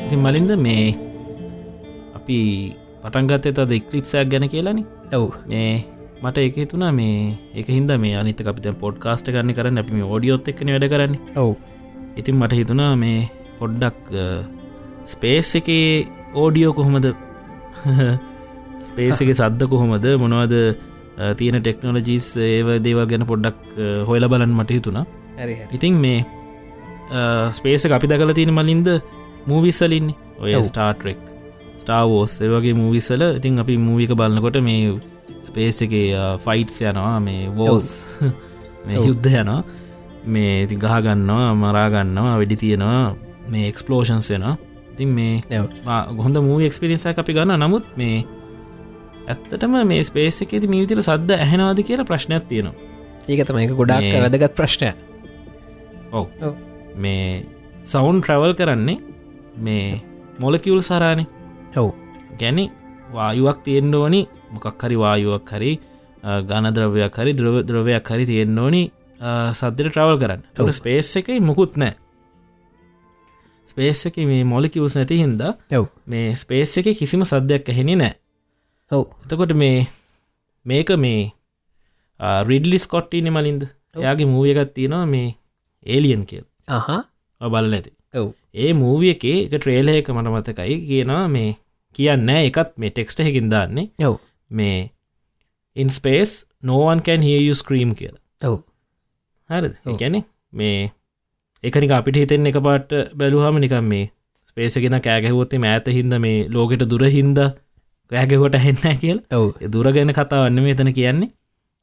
S2: ඉතින් මලින්ද මේ අපි පටන්ගත්තේ තද ඉක්ලිප්සයක් ගැන කියලනි
S3: ඔව්
S2: මේ මට එක තුනා මේ එක හිද මේ අනිත අපිත පොඩ් කාස්ට කරන්න කරන්න අපි ෝඩියෝත් එක්න වැඩ කරන්න
S3: ඔව්
S2: ඉතින් මට හිතුනා මේ පොඩ්ඩක් ස්පේස් එක ඕඩියෝ කොහොමද *laughs* ස්පේස එක සද්ද කොහොමද මොනවද අ, තියෙන ටෙක්නෝලජීස් ඒව දේවල් ගැන පොඩ්ඩක් අ, හොයලා බලන්න මට හිතුනා
S3: හරි
S2: ඉතින් මේ ස්පේස අපි දකල තියෙන මලින්ද මූවිස්සලින් ඔය
S3: ඔව්.
S2: ස්ටාටරෙක් ස්ටාවෝස් ඒවගේ මූවිස්සල ඉතින් අපි මූවික බලන්නකොට මේ ස්පේස එක ෆයිට්ස් යනවා මේ වෝස් මේ
S3: ඔව්.
S2: යුද්ධ යනවා මේ ඉති ගහගන්නවා මරාගන්නවා වැඩි තියෙනවා මේ එක්ස්පලෝෂන්ස් යනවා ඉතින් මේ
S3: ඔව්.
S2: ආ, හොඳ මූ එක්ස්පිරිස අපි ගන්න නමුත් මේ ඇත්තටම මේ ස්පේස එකෙති මීවිතර සද්ද ඇහෙනවාද කියලා ප්‍රශ්නයක් තියෙනවා
S3: ඒක තමයි ඒක ගොඩක්
S2: මේ-
S3: වැදගත් ප්‍රශ්නය
S2: ඔව
S3: ඔව්.
S2: මේ සවුන් ට්‍රවල් කරන්නේ මේ මොලකිවුල් සරානය
S3: ඔව්
S2: ගැන වායුවක් තියෙන්න්න ඕනි මොකක් හරි වායුවක් හරි ගණ ද්‍රවයක් හරි ද්‍රව ද්‍රවයක් හරි තියෙන්න්න ඕනි සද්දිර ට්‍රවල් කරන්න
S3: ඔව්.
S2: තොට ස්පේස් එකයි මුකුත් නෑ ස්පේස් එක මේ මොලිකිවස් නැති හින්ද
S3: ඔව්
S2: මේ ස්පේස් එක කිසිම සද්‍යයක් ඇහෙෙන නෑ
S3: ඔව්
S2: එතකොට මේ මේක මේ රිඩ්ලිස් කොට්ටීනෙ මලින්ද එයාගේ මූවියගත් තියෙනවා මේ ඒලියන් කියල්
S3: අහා
S2: බල ඇති
S3: ඔව්
S2: ඒ මූවිය එකේ එක ට්‍රේලයක මට මතකයි කියනවා මේ කියන්න එකත් මේ ටෙක්ස්ට හැකින් දාන්නේ
S3: ඔව්
S2: මේ ඉන්ස්පේස් නෝවන්කැන් හියු ස්ක්‍රීම් කියලා
S3: ඔව්
S2: හරි
S3: ඔව්.
S2: එකැනෙ මේ එකනික අපිට හිතෙන් එක පාට බැලුහම නිකම් මේ ස්පේසගෙන කෑගැහවොත්තේ මෑත හින්ද මේ ලෝකෙට දුරහින්ද කෑගෙකොට හෙන්න කියල
S3: ඔව්
S2: දුරගෙන කතාවන්න මෙතන කියන්නේ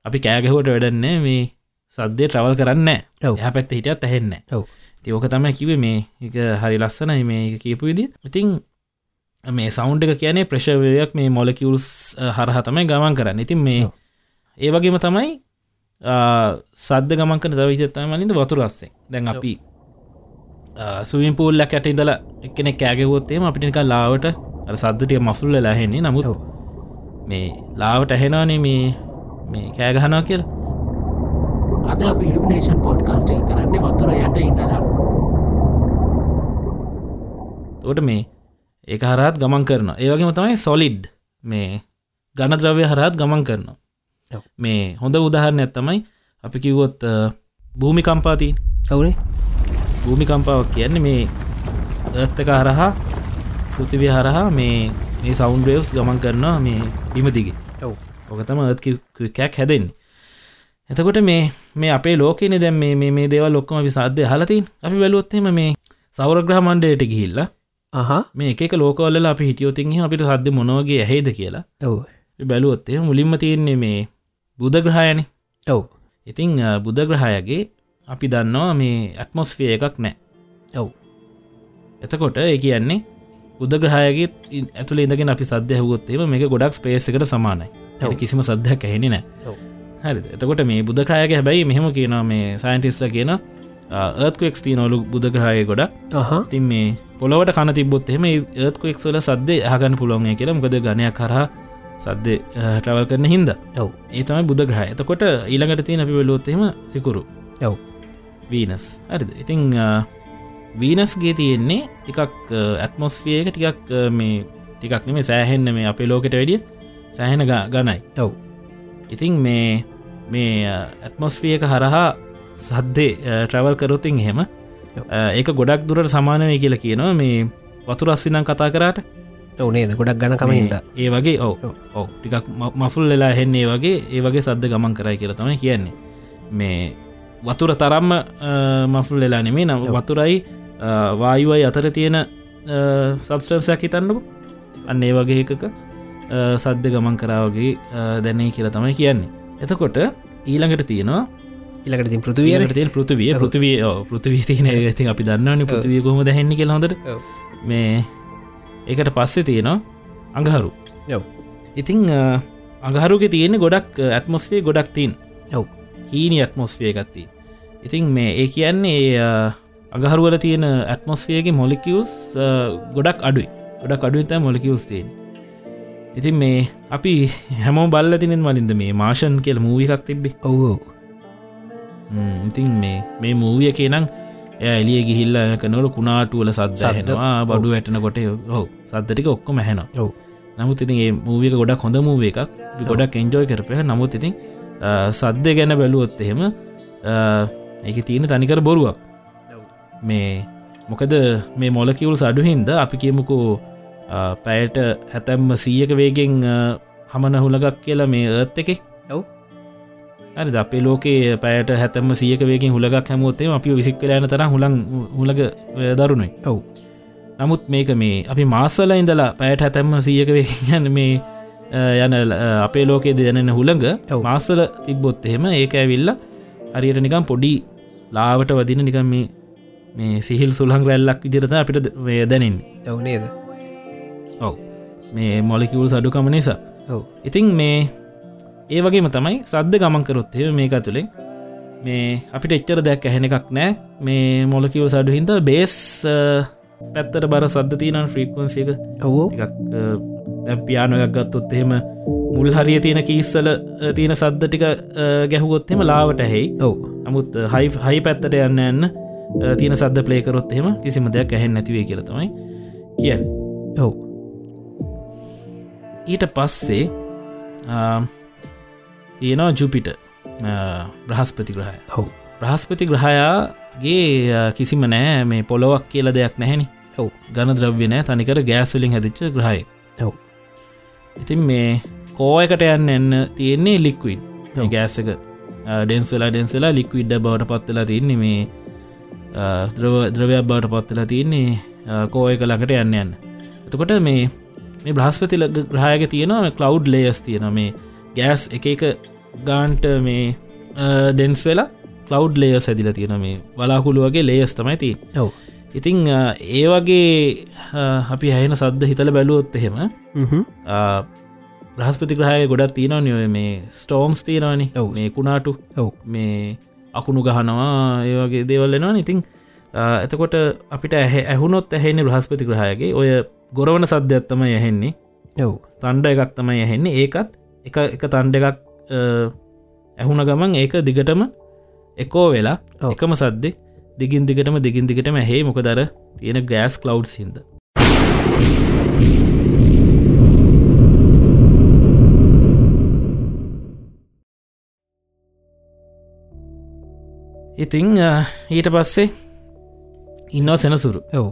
S2: අපි කෑගහෝට වැඩන්නේ මේ සද්‍යය ට්‍රවල් කරන්න
S3: ඔව්.
S2: එහ පැත්ත හිටියත් ඇහෙන්න
S3: ඔව්.
S2: තියෝක තම කිව මේ එක හරි ලස්සනයි මේ එක කියපු විදි ඉතිං මේ සෞන්් එක කියන්නේ ප්‍රශවයක් මේ මොලකිවුල්ස් හරහ තමයි ගමන් කරන්න ඉතින් මේ
S3: ඔව්.
S2: ඒ වගේම තමයි ආ, සද්ද ගමන්කන දවිතත්තම මලින්ද වතුරස්සේ දැන් අපි සුවින් පූල්ල කැට ඉඳල එකනෙ කෑගවොත්තේම අපිටික ලාවට අර සද්ධටිය මෆුල්ල ලැහෙන්නේ නමුත්
S3: ඔව්.
S2: මේ ලාවට ඇහෙනවානේ මේ මේ කෑගහනා කියල
S4: අද අපි ඉලිමිනේෂන් පොඩ්කාස්ට් එක කරන්නේ වතුර යට ඉඳලා.
S2: තෝට මේ ඒ හරත් ගමන් කරන ඒවගේම තමයි සොලිඩ් මේ ගණද්‍රවය හරහත් ගමන් කරනවා
S3: ඔව්.
S2: මේ හොඳ උදාහරණ ඇත්තමයි අපි කිව්වොත් අ, භූමිකම්පාති
S3: ඔවුනේ
S2: භූමිකම්පාවක් කියන්නේ මේ ඇත්තක හරහා පෘතිවිය හරහා මේ මේ සෞන්ඩ්‍රේවස් ගමන් කරනවා මේ බිමදිගේ
S3: ඔව්
S2: ඕක තම කැක් හැදෙන් එතකොට මේ මේ අපේ ලෝකන දැම් මේ- මේ මේ දේවල් ලොක්කම විසාධ්‍ය හලතින් අපි වැලුවොත්තෙම මේ සෞරග්‍රහ මණ්ඩයට ගිහිල්ල
S3: අහා
S2: මේ එක ලෝකවල්ල අපි හිටියෝතින් අපිට සද්ධ මොනෝගේ ඇහෙද කියලා
S3: ඔව්
S2: අපි බැලුවොත්තේ මුලින්ම තියෙන්නේ මේ බුදග්‍රහයන
S3: ඔව්
S2: ඉතිං අ, බුදග්‍රහයගේ අපි දන්නවා මේ ඇත්මොස්ෆිය එකක් නෑ
S3: ඔව්
S2: එතකොට ඒ කියන්නේ බුදග්‍රහයගේ ඇතුළ ඉඳගෙන අපි සද්‍යයහුවොත්තේම මේ ගොඩක් ස්පේසිකට සමානයි
S3: ඔව්.
S2: ඇ කිසිම සද්ධයක් ඇහෙනි නෑ
S3: ඔව්.
S2: හරි එතකොට මේ බුදග්‍රහයගේ හැබැයි මෙහෙම කියන මේ සයින්ටිස්ල කියන ඒත්කෙක් තිීනොලු බුදග්‍රහය ගොඩ
S3: අහා
S2: තින් මේ පොලොවට කන තිබොත් එහෙම ඒත්කෙක්වල සද්‍ය හගන්න පුළොන්ය කියලා මොකද ගණයක් කරහ සද්‍ය ටවල් කරන හින්ද
S3: ඔව්
S2: ඒ තමයි බුදග්‍රහය එතකොට ඊළඟට තිය අපි වෙලොත්තෙම සිකුරු
S3: ඔව්
S2: වීනස් හරිද ඉතිං වීනස්ගේ තියෙන්නේ ටිකක් ඇත්මොස්ෆියක ටිකක් අ, මේ ටිකක් නෙම සෑහෙන්න මේ අපේ ලෝකට වැඩිය සෑහෙන ග- ගණයි
S3: ඔව්
S2: ඉතිං මේ මේ ඇත්මොස්ෆියක හරහා සද්දේ ට්‍රවල් කරොතින් එහෙම අ, ඒක ගොඩක් දුරට සමානය කියලා කියනවා මේ වතුරස්සිනම් කතා කරාට
S3: ඔව් නේද ගොඩක් ගණ කමින්ද
S2: මේ ඒ වගේ ඔව
S3: ඔව්.
S2: ඔව ටිකක් ම- මෆුල් වෙලා හෙන්නේ වගේ ඒ වගේ සද්ද ගමන් කරයි කියලා තමයි කියන්නේ මේ වතුර තරම්ම අ, මෆුල් වෙලා නෙමේ නම් වතුරයි අ, වායුවයි අතර තියෙන සබස්ටන්සයක් හිතන්නකු අන්න ඒ වගේ එකක අ, සද්ද ගමන් කරාවගේ දැනේ කියලා තමයි කියන්නේ එතකොට ඊළඟට තියෙනවා
S3: ඉලකට තින් පෘතුවියන
S2: ඊළඟට තියෙන පෘතිවිය පෘතිවිය ඔව්, පෘතිවිය තියෙන ඇති අපි දන්නවන පෘතිවිය කොම දැහෙන්නේ කියලා හොඳට
S3: ඔව්.
S2: මේ ඒකට පස්සේ තියෙනවා අඟහරු
S3: ඔව්
S2: ඉතිං අගහරුගේ තියෙන ගොඩක් ඇත්මොස්වේ ගොඩක් තින්
S3: ඔව්
S2: හීනි ඇත්මොස්වේ ගත්ති ඉතිං මේ ඒ කියන්නේ ඒ, අ, අගහරුවල තියෙන ඇත්මොස්වේගේ මොලිකිවස් ගොඩක් අඩුයි ගොඩක් අඩුයි තෑ මොලිකිවස් තියෙන් ඉතින් මේ අපි හැමෝ බල්ල තිනෙන් වලින්ද මේ මාෂන් කියල මූවිකක් තිබ්බේ
S3: ඔව් ඔව්
S2: හ්ම්, ඉතින් මේ මේ මූවිය කියනම් එය එලිය ගිහිල්ල කනොල කුණාටුවල
S3: සද්ද.
S2: සද්දහෙනවා බඩු ඇටන කොට හෝ සද්දටික ඔක්කොම හැනවා
S3: ඔව්
S2: නමුත් ඉතින් ඒ මූවික ගොඩක් හොඳ මූව එකක් අපි ගොඩක් එන්ජෝයි කරපය නමුත් ඉතින් අ, සද්දය ගැන බැලුවොත් එහෙම ඒක තියෙන තනිකර බොරුවක් මේ මොකද මේ මොලකිවුල් සඩුහින්ද අපි කියමුකෝ අ, පැයට හැතැම් සීයක වේගෙන් අ, හමන හුලගක් කියලා මේ ඒත් එකේ
S3: ඔව්
S2: හරි ද අපේ ලෝකේ පැයට හැතම සියක වේගෙන් හුලගක් හැමුවත්තේ අපි විසික්කලයන තර හුලන් හුලග දරුණුයි
S3: ඔව්
S2: නමුත් මේක මේ අපි මාස්සල ඉඳලා පැයට හැතැම්ම සියක වේගෙන් *laughs* යන මේ අ, යන ල- අ, අපේ ලෝකේ දෙදැනෙන හුළඟ
S3: ඔව්.
S2: මාස්සල තිබ්බොත් එහෙම ඒක ඇවිල්ල හරියට නිකම් පොඩි ලාවට වදින නිකම් මේ මේ සිහිල් සුළං රැල්ලක් ඉදිරත අපිට වේදැනින්
S3: ඔව් නේද
S2: ඔව් මේ මොලිකිවුල් සඩුකම නිසා
S3: ඔව්
S2: ඉතිං මේ ඒ වගේම තමයි සද්ධ ගමන් කරොත් එ මේක තුළින් මේ අපිට එච්චර දැක් ඇහෙන එකක් නෑ මේ මොලකිව සඩු හින්ද බේස් අ, පැත්තට බර සද්ධ තියනන් ෆ්‍රීක්වන්සික
S3: ඔව් ඔව්.
S2: එකක් පියානොයක් ගත්තොත් එහෙම මුල් හරිය තියෙන කීස්සල තියෙන සද්ධ ටික අ, ගැහුවොත් එම ලාවට ඇහෙයි
S3: ඔව්
S2: නමුත් හයි හයි පැත්තට යන්න යන්න අ, තියෙන සද්ධ ප්ලේකරොත් එහෙම කිසිම දෙයක් ඇහෙන් නැතිවේ කියරතමයි කියන්න
S3: ඔව්
S2: ඊට පස්සේ ආ, තියෙනවා ජුපිට බ්‍රහස්පති ග්‍රහය
S3: ඔව්
S2: ප්‍රහස්පති ග්‍රහයාගේ අ, කිසිම නෑ මේ පොලොවක් කියල දෙයක් නැහැනි
S3: ඔව්
S2: ගණ ද්‍රව්‍ය නෑ තනිකර ගෑස්වලින් හදිච්ච ග්‍රහය
S3: ඔව්
S2: ඉතින් මේ කෝයකට යන්න එන්න තියෙන්නේ ලික්විඩ් ගෑසක ඩෙන්සලා ඩෙන්සලා ලික්විඩ්ඩ බවට පත්වෙලා තියන්නේ මේ අ, ද්‍රව ද්‍රවයක් බවට පත්වෙලා තියන්නේ අ, කෝයක ළඟට යන්න යන්න එතකොට මේ මේ බ්‍රහස්පති ලග- ග්‍රහයක තියෙනවා කලව් ලේස් තියෙන මේ ගෑස් එක එක ගාන්ට මේ ඩෙන්ස් වෙලා කලව් ලේස් ඇදිල තියෙන මේ වලාහුළු වගේ ලේස් තමයි තින්
S3: ඔව්
S2: ඉතිං අ, ඒ වගේ අ, අපි හැන සද්ධ හිතල බැලුවොත් එහෙම
S3: හ්ම්
S2: ආ, බ්‍රහස්පති ග්‍රහය ගොඩත් තියනවා නිය මේ ස්ටෝම්ස් තියනවානි
S3: ඔව්.
S2: මේ කුණාටු
S3: ඔව්
S2: මේ අකුණු ගහනවා ඒවගේ දේවල්ලෙනවා ඉතිං ආ, එතකොට අපිට ඇහ ඇහුනොත් ඇහෙන්නේ බ්‍රහස්පති ග්‍රහයගේ ඔය ගොරවන සද්‍යත්තම යහෙන්නේ
S3: ඔව්
S2: තණ්ඩ එකක් තමයි ඇහෙන්නේ ඒකත් එක එක තණ්ඩ එකක් අ, ඇහුණ ගමන් ඒක දිගටම එකෝ වෙලා
S3: ඔව්.
S2: එකම සද්දෙ දිගින් දිගටම දිගින් දිගටම ඇහේ මොක දර තියෙන ගෑස් කලව් සින්ද ඉතිං ඊට පස්සේ ඉන්නව සෙනසුරු
S3: ඔව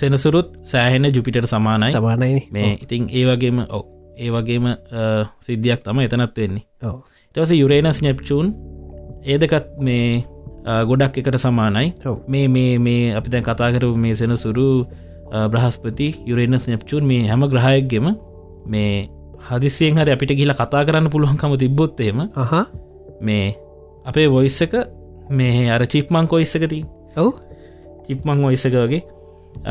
S2: සෙනසුරුත් සෑහෙන ජුපිට සමානයි
S3: සමානයින
S2: මේ ඉතිං ඒ වගේම ඔව ඒ වගේම අ, සිද්ධියක් තම එතනත් වෙන්නේ
S3: ඔව
S2: ඉටවස යුරේනස් නැප්චූන් ඒදකත් මේ අ, ගොඩක් එකට සමානයි
S3: ඔව්.
S2: මේ මේ මේ අපි දැන් කතාකරු මේ සෙනසුරු අ, බ්‍රහස්පති යුරේනස් නැප්චූන් මේ හැම ග්‍රහයක්ගෙම මේ හදිසියෙන් හරි අපිට ගිල කතා කරන්න පුළුවන්කම තිබ්බොත්තේම
S3: අහා
S2: මේ අපේ වොයිස්සක මේ අර චිප්මං කොයිස්සකති
S3: ඔව
S2: චිප්මං ඔයිස්සක වගේ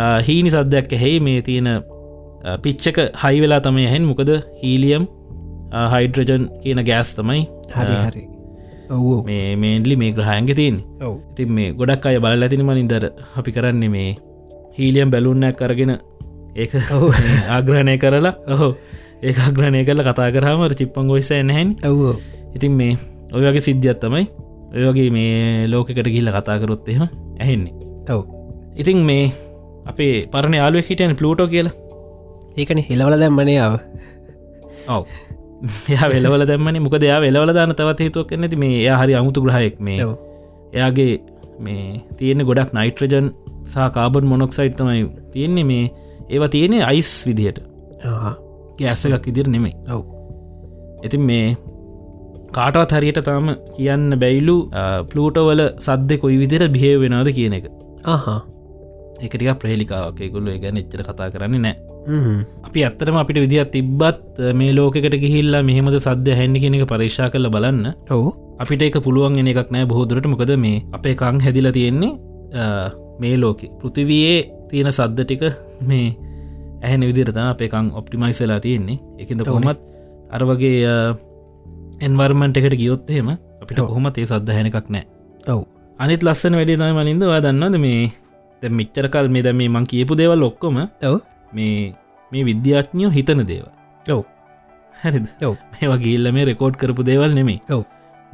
S2: අ, හීනි සද්දයක් ඇහෙයි මේ තියෙන අ, පිච්චක හයි වෙලා තමයි හෙන් මොකද හීලියම් අ, හයිඩ්‍රජන් කියන ගෑස් තමයි
S3: හරි
S2: අ,
S3: හරි ඔවෝ
S2: මේ මේන්ඩලි මේ ග්‍රහයන්ග තියන්
S3: ඔව
S2: ඉතින් මේ ගොඩක් අය බල ඇතිනිම නිදර අපි කරන්නේ මේ හීලියම් බැලුන්නක් කරගෙන ඒක ආග්‍රහණය කරලා ඔහෝ ඒ අග්‍රණය කරල කතා කරහම චිප්පං ගොයිස නැහැන්
S3: ඔවෝ
S2: ඉතින් මේ ඔයගේ සිද්ධියත් තමයි ඔයගේ මේ ලෝකකට ගිල්ල කතාකරොත් එහෙම ඇහෙන්නේ
S3: ඔව
S2: ඉතින් මේ අපේ පරණ යාලුව හිටයන් පලටෝ කියලා
S3: ඒකන හෙලවල දැම්මනයාව
S2: ඔව එයා වෙලවල දැමනි මොක දෙයා වෙලවල දාන තවත් හේතුවක් නැති මේ එයා හරි අමුතු ග්‍රහයෙක් මේ
S3: ඔව්.
S2: එයාගේ මේ තියෙන ගොඩක් නයිට්‍රජන් සහ කාබන් මොනොක්සයිට් තමයි තියෙන්නේ මේ ඒවා තියෙන්නේ අයිස් විදිහට ගෑස්ස එකක් ඉදිර නෙමෙයි
S3: ඔව්
S2: ඉතින් මේ කාටවත් හරියට තාම කියන්න බැයිලු පලටෝවල සද්ධ කොයි විදිර බිහේ වෙනවාද කියන එක
S3: අහා
S2: එකටික ප්‍රහලිකාවක් එකකුල්ල ගැන එච්චර කතා කරන්නේ නෑ
S3: හ්ම්.
S2: අපි ඇත්තරම අපිට විදිහත් තිබ්බත් මේ ලෝකට ගිහිල්ලා මෙහෙමද සද්‍ය හැන්නි කෙනෙක පරීක්ෂා කරල බලන්න
S3: ඔව්
S2: අපිට එක පුළුවන් එන එකක් නෑ බහෝදුරට මොකද මේ අපේ කං හැදිල තියෙන්නේ අ, මේ ලෝකෙ පෘතිවයේ තියෙන සද්ධ ටික මේ ඇහැන විදිරතන අපේකං ඔප්ටිමයිසලා තියෙන්නේ එකද කොහොමත් අරවගේ එන්වර්මන්ට එකට ගියොත්තේම අපිට කොහොම ඒ සද්ධ හැන එකක් නෑ
S3: ඔව්
S2: අනිත් ලස්සන වැඩි තම මනින්දවා දන්නද මේ දැ මිච්චරකල් මේ දැ මේ මං කියපු දේවල් ඔක්කොම
S3: ඔව්
S2: මේ මේ විද්‍යාඥයෝ හිතන දේව
S3: ඔව්
S2: හැරිද
S3: ඔව්.
S2: මේ වගේල්ල මේ රෙකෝඩ් කරපු දේවල් නෙමේ
S3: ඔව්.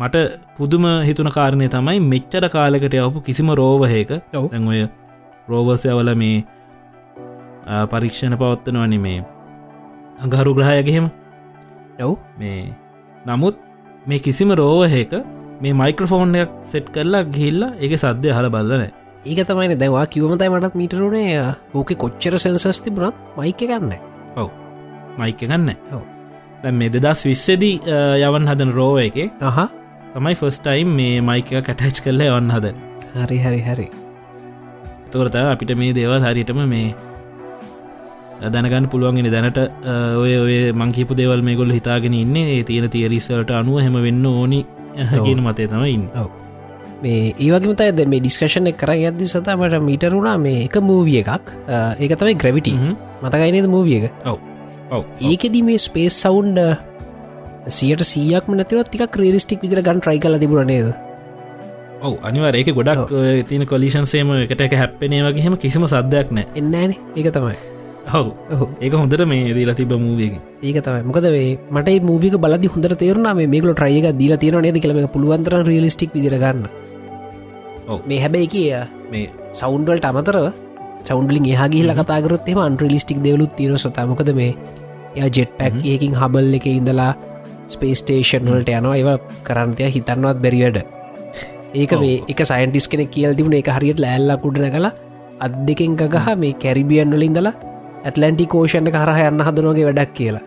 S2: මට පුදුම හිතුන කාරණය තමයි මෙච්චර කාලකට යවපු කිසිම රෝවහයක
S3: ඔව්.
S2: ඔය රෝවසයවල මේ ආ, පරීක්ෂණ පවත්වනවනි මේ අඟහරු ග්‍රහයගහෙම
S3: ඔව්
S2: මේ නමුත් මේ කිසිම රෝවහයක මේ මයික්‍රෆෝන් එකක් සෙට් කරලා ගිල්ලා එක සද්‍යය හල බල්ලනෑ
S3: ඒක තමයි දැවා කිවමතයි මටත් මීටරුණේ ඕක කොච්චර සෙන්සස් තිබුණත් මයික ගන්න
S2: ඔව් මයික ගන්න
S3: ඔව්.
S2: දැන් මේ දෙදස් විස්සදී යවන් හදන රෝව එක
S3: අහා
S2: තමයි ෆස්ටයිම් මේ මයික කටච් කරල යවන්න හද
S3: හරි හරි හරි
S2: තකොරත අපිට මේ දේවල් හරිටම මේ දැනගන්න පුළුවන්ගෙන දැනට අ, ඔය ඔය මංකිපු දේවල් මේ ගොල්ල හිතාගෙන ඉන්න ඒ තියෙන තියරිස්සලට අනුව හැම වෙන්න ඕනි *laughs* හැගෙන මතය තම ඉන්න
S3: ඔව් මේ ඒවගේමතයි ඇද මේ ඩිස්කශන කර ඇදදි සතා මට මීටරුණා මේ එක මූවිය එකක් අ, ඒක තමයි ග්‍රවිටි මතකයිනද මූවිය එක
S2: ඔව් ඔව්
S3: ඒකෙද මේ ස්පේස් සවුන්් සියට සියක් නතව තික ක්‍රේරිස්ටික් විදිර ගන් ට්‍රයි කල තිබුණ නේද
S2: ඔව් අනිවර ඒක ගොඩක් ඔය තියන කොලිෂන් සේම එකට එක හැප්පෙනේ වගේ හෙම කිසිම සද්ධයක් නෑ
S3: එන්නන ඒක තමයි
S2: හව්
S3: ඔහු
S2: ඒක හොඳට මේ දීලා තිබ මූවියගේ
S3: ඒක තමයි මොකද වේ මට මූවික බලදි හොඳ තේරුණ මේකල ට්‍රයික දීල තියෙන නද කලම පුළුවන්තර රියලිස්ටික් විදිරගන්න
S2: ඔව්.
S3: මේ හැබැයි කිය
S2: මේ
S3: සෞන්ඩවල්ට අමතර සෞන්ඩලින් හගේ ලකතාගරොත්තේ අන්ට්‍රලිස්ටික් දෙවලුත් තීර සතාමකද මේ එය ජෙට් පැක් ඒකින් හබල් එක ඉඳලා ස්පේස්ටේෂන්වලට යනවා ඒව කරන්තය හිතන්නවත් බැරිවැඩ ඒක මේ එක සයින්ටිස් කෙන කියල් තිබුණ එක හරියට ලෑල්ලා කුඩන කලා අත් දෙකෙන් ගහ මේ කැරිබියන් වලින් දලා ඇටලන්ටි කෝෂණ කරහ යන්න හදනෝගේ වැඩක් කියලා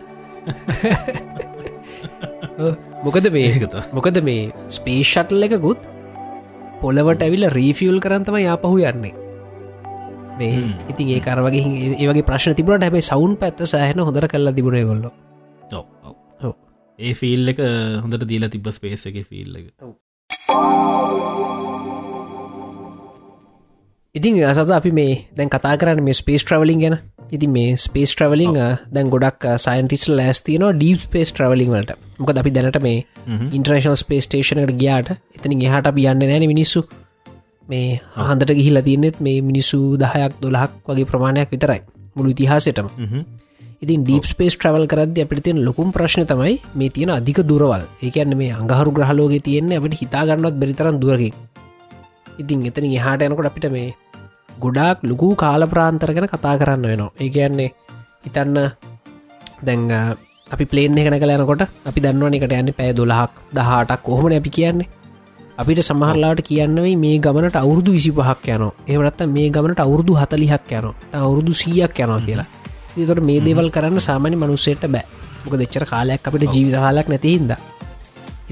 S3: ඔව්. මොකද මේ
S2: ඒකත.
S3: මොකද මේ ස්පේෂටල් එකකුත් පොළවට ඇවිල රීෆියල් කරන්තම යාපහු යන්නේ මේ ඉතින් ඒ කරවගේ හි- ඒ වගේ ප්‍රශ්න තිබට හැබයි සවුන් පැත්ත සෑහන හොඳර කල්ලා තිබුණේ ගොල්ල
S2: ඔව් ඔව් ඒ ෆිල් එක හොඳට දීලා තිබ ස්පේස එක ෆිල් එක
S3: ඉතින් අසත අපි මේ දැන් කතා කරන්න මේ ස්පේස් ට්‍රවලින් ගැන ඉතින් මේ ස්පේස් ට්‍රවලිං දැන් ගොඩක් සයින්ටිස් ලෑස්තින ඩීප් ස්පේස් ට්‍රවලින් වලට මොක අපි දැනට මේ ඉන්ටර්නේශල් ස්පේස් ටේෂනට ගියාට එතන එහට අපි යන්න නෑන මිනිස්සු මේ හන්දට ගිහිලා තියන්නෙත් මේ මිනිස්සු දහයක් දොලහක් වගේ ප්‍රමාණයක් විතරයි මුළු ඉතිහාසටම ඉතින් ඩීප් ස්පේස් ට්‍රවල් කරද අපිට තියෙන ලොකුම් ප්‍රශ්න තමයි මේ තියෙන අධික දුරවල් ඒකන්න මේ අඟහරු ග්‍රහලෝග තියෙන්නේ අපට හිතාගන්නවත් බැරිතරන් දුරකින් ඉතින් එතන එහාට යනකොට අපිට මේ ගොඩාක් ලොකු කාල ප්‍රාන්තර ගැන කතා කරන්න වෙනවා ඒ කියන්නේ හිතන්න දැන් අ, අපි පලේන එකන කලයනකොට අපි දන්නවනකට යන්න පෑ දොලහක් දහටක් කොහොමන අපි කියන්නේ අපිට සමහරලාට කියන්නවෙයි මේ ගමනට අවුරුදු විසි පහක් යනෝ ඒවනත්ත මේ ගමනට අවුරුදු හතලිහක් යනෝ අවුරුදු සියයක් යනවා කියලා ඒතොට මේ දේවල් කරන්න සාමාන්‍ය මනුස්සයට බෑ මොක දෙච්චර කාලයක් අපිට ජීවිතහලක් නැතිහින්ද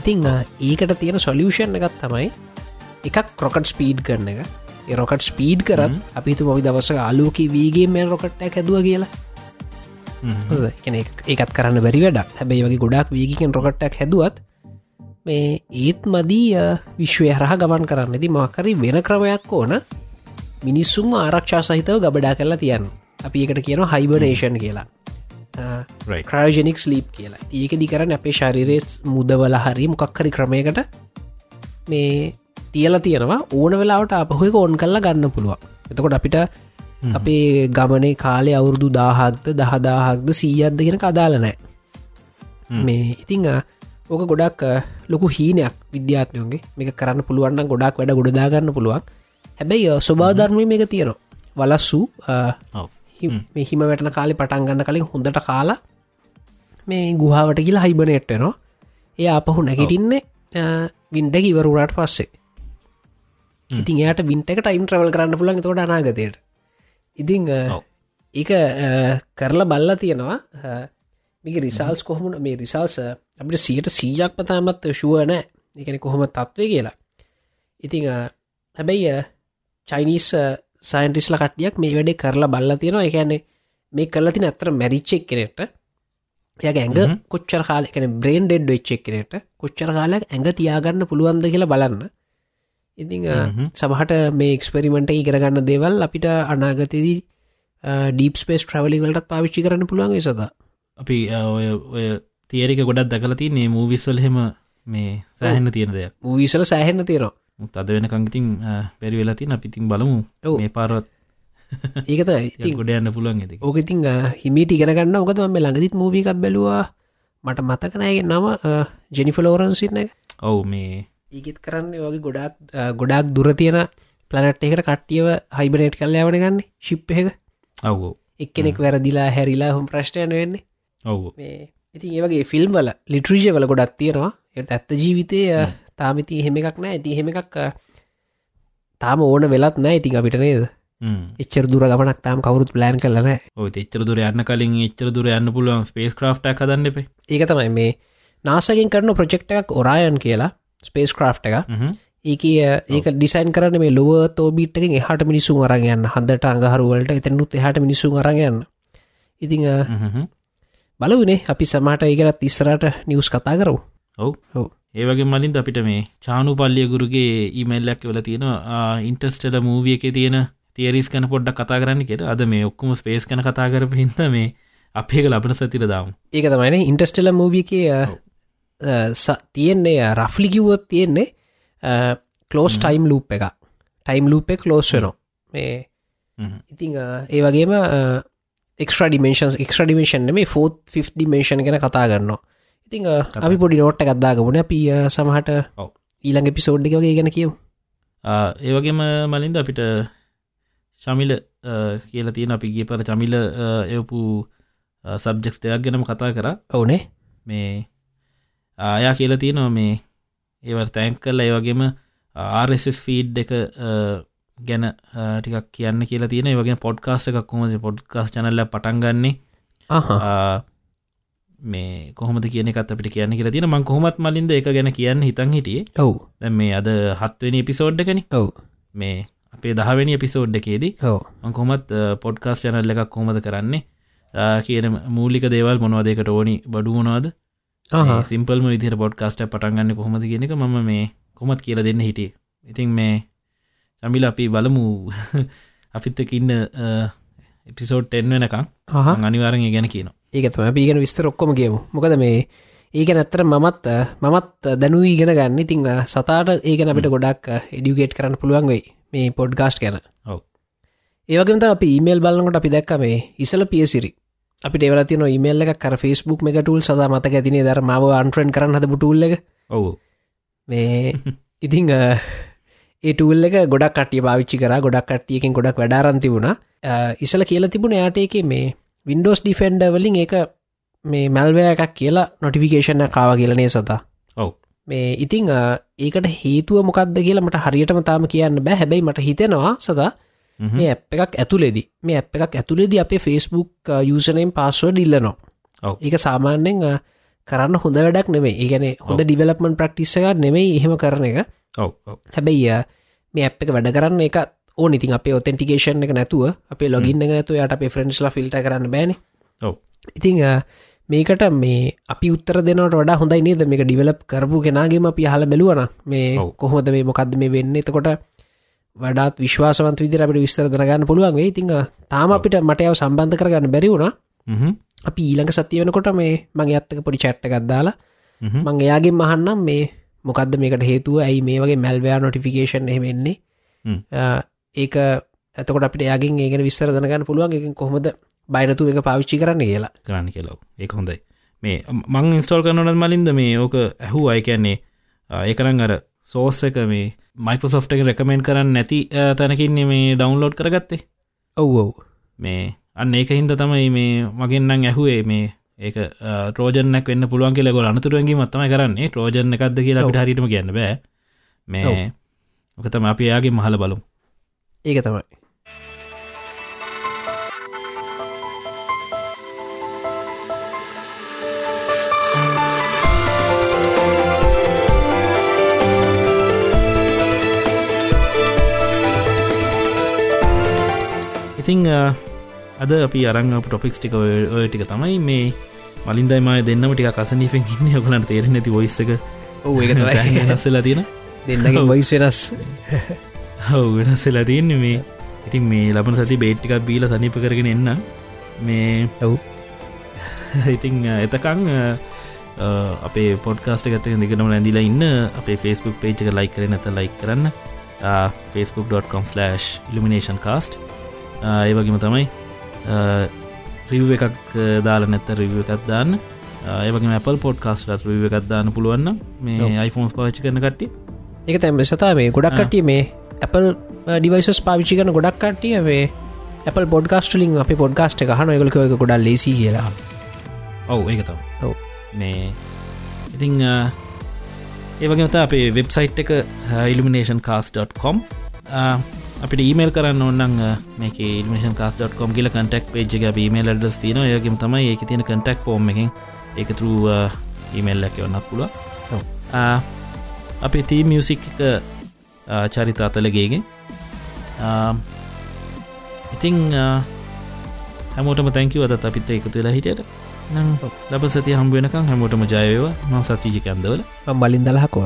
S3: ඉතිං ඒකට තියෙන සොලියෂන් එකත් තමයි එකක් කොකට් ස්පීඩ් කරන එක ඒ රොකට් ස්පීඩ් කරන්න අපිතු මොවි දවස අලෝක වීගේ මේ රොකට්ටයක් ඇදුව කියලා හොඳ? ඒ කියන්නේ ඒකත් කරන්න බැරි වැඩක් හැබැයි වගේ ගොඩක් වීගිකෙන් රොකට්ටක් හැදුවත් මේ ඒත් මදී අ, විශ්වය හරහ ගමන් කරන්න ඇති මහකරි වෙන ක්‍රමයක් ඕන මිනිස්සුන් ආරක්ෂා සහිතව ගබඩා කරලා තියන්න අපි එකට කියන හයිබනේෂන් කියලා
S2: Right.
S3: ක්‍රයෝජනික් ලීප් කියලා ඒක දි කරන්න අපේ ශරිරේස් මුදවල හරි මොකක්හරි ක්‍රමයකට මේ තියලා තියෙනවා ඕන වෙලාවට අපහුවක ඕන් කල්ලා ගන්න පුළුවන් එතකොට අපිට අපේ ගමනේ කාලේ අවුරුදු දාහක්ද දහදාහක්ද සීයද්ද කියෙන කදාල නෑ මේ ඉතිං අ, ඕක ගොඩක් අ, ලොකු හීනයක් විද්‍යාත්මයෝගේ මේක කරන්න පුළුවන්න ගොඩක් වැඩ ගොඩදාගන්න පුළුවන් හැබැයි අ, ස්වභාධර්මය මේක තියෙන වලස්සු
S2: ඔව්.
S3: හිම වැටන කාලි පටන්ගන්න කලින් හොඳට කාලා මේ ගුහාාවට කියලා හයිබනට්ටනවා ඒ අපහු නැගටින්නේ වින්ඩ ඉවරුරාට පස්සේ ඉතින් එයට විින්ට එක ටයිම් ්‍රවල් කරන්න පුලන් තොට අනාගතයට ඉතිං අ,
S2: ඔව්.
S3: ඒක අ, කරලා බල්ල තියෙනවා මේක රිසාල්ස් කොහොමුණ මේ රිසාල්ස අපිට සියට සීයක් පතාමත් ශුවනෑ එකන කොහොම තත්වේ කියලා ඉතිං අ, හැබැයි අ, චයිනිස් සයින්ටිස්ල කටියක් මේ වැඩේ කරලා බල්ල තියෙනවා එකන්නේ මේ කරලති නැතර මැරිච්චෙක් කෙනෙට ය ඇඟ කොච්චර කාල එකන බ්‍රේන් ඩෙඩ් වෙච්චෙක් කෙනෙට කොච්චර කාලයක් ඇඟ තියාගන්න පුළුවන්ද කියලා බලන්න ඉතිං අ, සමහට මේ එක්ස්පෙරිමෙන්ට ඉගරගන්න දේවල් අපිට අනාගතයේදී ඩීප් ස්පේස් ්‍රවලි වලටත් පාවිච්චි කරන්න පුළුවන් ඒ සඳහා
S2: අපි අ, ඔය ඔය තේරක ගොඩක් දකලති නේ මූවිස්සල් හෙම මේ සෑහෙන්න තියෙන දෙයක්
S3: මූවිසල සෑහෙන්න තියෙනවා
S2: මුත් අද වෙන කංගතින් පැරි වෙලාතින් අපිතින් බලමු
S3: ඔව්.
S2: මේ පාරත්
S3: ඒකත ඉතින්
S2: ගොඩ යන්න පුළුවන් ඇති
S3: ඕකඉතින් හිමිට ඉගෙනගන්න ඔකතම මේ ළඟදිත් මූවිකක් බැලවා මට මතකනයගේ නම ජෙනිෆලෝරන්සින්න
S2: ඔවු මේ
S3: ඒකත් කරන්න වගේ ගොඩක් අ, ගොඩක් දුරතියෙන පලනට් එකට කට්ටියව හයිබනට් කල් යවනගන්න ශිප් එක
S2: අව්ෝ
S3: එක්කෙනෙක් වැරදිලා හැරිලා හොම ප්‍රශ්ටයන වෙන්නේ
S2: ඔව්ෝ
S3: මේ ඉතින් ඒවගේ ෆිල්ම් වල ලිට්‍රීජ වල ගොඩක් තියෙනවා එයට ඇත්ත ජීවිතය තාමිති හෙම එකක් නෑ ඇති හෙම එකක් අ, තාම ඕන වෙලත් නෑ ඉතින් අපිට නේද එච්චර දුර ගමනක් තාම කවරුත් ප්ලෑන් කරලන
S2: ඔය එච්චර දුර යන්න කලින් එච්චර දුර යන්න පුළුවන් ස්පේස් ක්‍රා්ට කදන්න එපේ
S3: ඒක තමයි මේ නාසගෙන් කරන ප්‍රජෙක්් එකක් ඔරායන් කියලා ස්පේස් ක්‍රා් එක ඒක ඒක ඩිසයින් කරන මේ ලොව තෝබිට්ටකින් එහට මිනිසු අරගයන්න හදට අඟහරුවලට එතනුත් එහට මිනිසු අරගයන්න ඉතිං අ, බලවනේ අපි සමහට ඒකරත් ඉස්සරට නිවස් කතා කරව
S2: ඔව්
S3: ඔව්.
S2: ඒවගේ මලින් අපිට මේ චානු පල්ලියගුරුගේ ඊමල්ලක් වෙල තියෙන ඉන්ටස්ටල මූවිය එක තියෙන තේරිස් කන පොඩ්ඩක් කතා කරන්න කෙට අද මේ ඔක්කුම ස්පේස් කන කතා කරපු හින්ද මේ අපේක ලබන සතිර දාම්
S3: ඒක තමයින ඉන්ටස්ටෙල මූවියක තියෙන්නේ අ, රෆ්ලි කිව්වොත් තියෙන්නේ කලෝස් ටයිම් ලූප් එක ටයිම් ලූප් එක ලෝස් වෙනෝ මේ ඉතිං ඒ වගේම එක්ඩිමේන් එක්ඩිමේෂන් මේ ෆෝත් ෆිෆ් ඩිමේෂන් ගැන කතා ගන්නවා ඉතිං අ, අපි පොඩි නෝට්ට ගත්දාගමුණ පිය සමහට
S2: ඔව්.
S3: ඊළඟ පිසෝඩ් එක වගේ ගැන කියව
S2: ඒවගේම මලින්ද අපිට ශමිල කියල තියෙන අපි ගේ පර චමිල එවපු සබ්ජෙක්ස් දෙයක් ගැනම කතා කර
S3: ඕනේ
S2: මේ ආයා කියල තියෙනවා මේ ඒව තැන්ක් කල්ල ඒවගේම ආරෙස් ෆීඩ් එක අ, ගැන අ, ටිකක් කියන්න කියලා තියෙන වගේ පොඩ්කාස්ට එකක් කොම පොඩ්කාස් චනල්ල පටන්ගන්නේ
S3: ආහා
S2: ආ, මේ කොහොම කියනකත් අපිට කියන්න කියලා තියෙන මං කොහොමත් මලින්ද එක ගැන කියන්න හිතන් හිටියේ
S3: ඔව්
S2: දැන් මේ අද හත්වෙනි එපිසෝඩ් එකන
S3: ඔව්
S2: මේ අපේ දහවැනි එපිසෝඩ් එකේදී
S3: ඔව්
S2: මං කොහොමත් පොඩ්කාස් චනල්ල එකක් කොහොමද කරන්නේ ආ, කියන මූලික දේවල් මොනවදකට ඕනි බඩු මොනවාද
S3: ආහා
S2: සිම්පල්ම විදිර පොඩ්කාස්ට පටන්ගන්න කොහොමද කියනක ම මේ කොමත් කියල දෙන්න හිටිය ඉතින් මේ සමිල අපි බලමු *laughs* අපිත්තකින්න එපිසෝඩ් එෙන් වෙනකම්
S3: ආහා
S2: අනිවාරෙන් ගැන කියන
S3: ඒක තම පිගෙන විස්තර ඔක්කොම කියමු මොකද මේ ඒක නැත්තර මමත් අ, මමත් දැනු ඉගෙන ගන්න ඉතිං අ, සතාට ඒගැන අපිට ගොඩක් එඩියගේට් කරන්න පුළුවන් වෙයි මේ පොඩ්ගස්ට් ගැන
S2: ඔව්.
S3: ඒවගේත අප ඉමල් බලන්නකොට අපි දැක්ක මේ ඉසල පියසිරි අපි ෙවලතින ඉමල් එක කර ෆස්බුක් මේ ටූල් සදා මත ඇතිනේ දර මාව අන්ට්‍රන් කරන්න හද පුටුල්ල එක
S2: ඔවු
S3: මේ ඉතිං ඒටූල් එක ගොඩක් කටිය භාවිච්චි කර ගොඩක් කට්ටියකින් ගොඩක් වැඩාරන්ති වුණ ඉසල කියලා තිබුණ යාට එක මේ වින්ඩෝස් ඩිෆෙන්ඩ වලින් ඒ මේ මැල්වය එකක් කියලා නොටිෆිකේෂන කාව කියලනේ සතා
S2: ඔව්.
S3: මේ ඉතිං අ, ඒකට හේතුව මොකක්ද කියලා මට හරියටම තාම කියන්න බෑ හැබැයි මට හිතෙනවා සදා මේ ඇ් එකක් ඇතුලෙදි මේ ඇ් එකක් ඇතුලෙදි අපේ ෆෙස්බුක් යසනෙන් පස්සුව ඩිල්ලනවා
S2: ඔව්.
S3: ඒක සාමාන්‍යෙන් අ, කරන්න හොඳ වැඩක් නෙමේ ඒගැන හොඳ ඩිවලප්මන් ප්‍රක්ටිස්ස එකක් නෙමෙයි එහෙම කරන එක
S2: ඔව් ඔව්.
S3: හැබැයි අ, මේ අප් එක වැඩ කරන්න එක ඕ ඉතින් අපේ ඔතෙන්ටිකේෂන් එක නැතුව අපේ ලොගින්න එක නැතු යට අපේ ෆරෙන්ස්ලා ෆිල්ට කරන්න බෑන
S2: ඔව්.
S3: ඉතිං අ, මේකට මේ අපි උත්තර දෙනට වඩා හොඳයි නේද මේක ඩිවලප් කරපු කෙනගේම අපි හල බැලුවන මේ
S2: ඔව්.
S3: කොහොද මේ මොකක්ද මේ වෙන්න එතකොට වඩාත් විශ්වාසවන්ත විදිර අපට විස්තර දරගන්න පුළුවන් වේ ඉතිං අ, තාම අපිට මටයව සම්බන්ධ කරගන්න බැරිවුණ
S2: හ්ම්.
S3: අපි ඊළඟ සතිය වෙනකොට මේ මගේ අත්තක පොඩි චට්ට ගත්දාලා
S2: හ්ම්.
S3: මං එයාගේ මහන්නම් මේ මොකක්ද මේකට හේතුව ඇයි මේ වගේ මැල්වයා නොටිෆිකේෂන් එහෙමෙන්නේ
S2: හ්ම්.
S3: අ, ඒක ඇතකොට අපිට යගින් ඒගෙන විස්තර දනගන්න පුළුවන් එකින් කොහොමද බයිනතු එක පාවිච්චි කරන්න කියලා
S2: කරන්න කෙලව ඒක හොඳයි මේ මං ඉස්ටල් කරනවනත් මලින්ද මේ ඕක ඇහු අය කියන්නේ ආ, ඒකරන් අර සෝස් එක මේ මයිකෝසොෆ් එක රැකමෙන්ට් කරන්න නැති අ, තැනකින්නේ මේ ඩවන්ලෝඩ් කරගත්තේ
S3: ඔව්වෝ
S2: මේ අන්න ඒක හින්ද තමයි මේ මගෙන්න්නම් ඇහුවේ මේ ඒක ට්‍රෝජනක් වන්න පුළුවන් කියල ගොල අනතුරුවන්ගේ මත්තම කරන්නේ ට්‍රෝජන එකක්ද කියලා අපිට හරිටම කියන්න බෑ
S3: ඔව්.
S2: මේ ඕකතම අපි යාගේ මහල බලු
S3: ඒක තමයි
S2: ඉතිං අ, අද අපි අරංග ටොපික්ස් ටික ඔය ඔය ටික තමයි මේ මලින්දයිම දෙන්නම ටික කසනීපෙන් ඉන්න ඔගලන්ට තේරෙන නැති වොයිස්සක
S3: ඔව ඒක
S2: නස්සලා තියෙන
S3: දෙන්නගේ
S2: *laughs* ඔව්.
S3: වයිස් වෙනස්
S2: හව වෙනස්සලා තියන්නේ මේ ඉතින් මේ ලබන සති බේට්ටිකක් බීල සනීප කරගෙන එන්න මේ
S3: ඔව්.
S2: *laughs* ඉතිං අ, එතකං අ, අ, අපේ පොඩ්කාස්ට එකත දෙකනම ඇඳලා ඉන්න අපේ ෆස්බුක් පේච් එක ලයි කරන ඇත ලයි කරන්න ෆස්බුක්.com/ ඉල්ිනේෂන් කාස්ට් ඒවගේම තමයි රිව් එකක් දාල නැත්ත රිව් එකත් දාන්න ඒවගේ මැපල් පොඩ්කාස්ට රිව් එකත් දාන්න පුළුවන්න මේ iPhoneෆෝන්ස් පාච්චි කරන කට්ටි
S3: ඒක තැම් සතා මේ ගොඩක් කටිය මේ Apple ඩිවයිසස් පාවිච්චි කරන ගොඩක් කටිය මේ Apple පොඩ්ගස්ටලින් අප පොඩ්ගස්ට හන එකලක එක ගොඩක් ලෙසි කියලා
S2: ඔව් ඒක තම
S3: ඔව්.
S2: මේ ඉතිං ඒවගේත අපේ වෙබ්සයිට් එක ඉල්ිනේෂන් කාස්.කොම් අපිට ඊමල් කරන්න ඔන්න මේක ඉල්ිනේෂන් කාස්.කොම් කියල කටක් පේජ් එක ීමල් ඩස් තින යගේම තමයි ඒක තියෙන කටක් ෝම් එකින් ඒක තරු ඊමල් ලැක ඔන්නක් පුල අපේ තී මියසික් එක ආ, චරිත අතලගේගෙන් ඉතිං හැමෝටම තැංකිව අදත් අපිත් එක තුලා හිටියට නම් ලබ සති හම්බුවනකම් හැමෝටම ජයවවා මං සතිජිකන්දවල
S3: බලින් දලහකෝ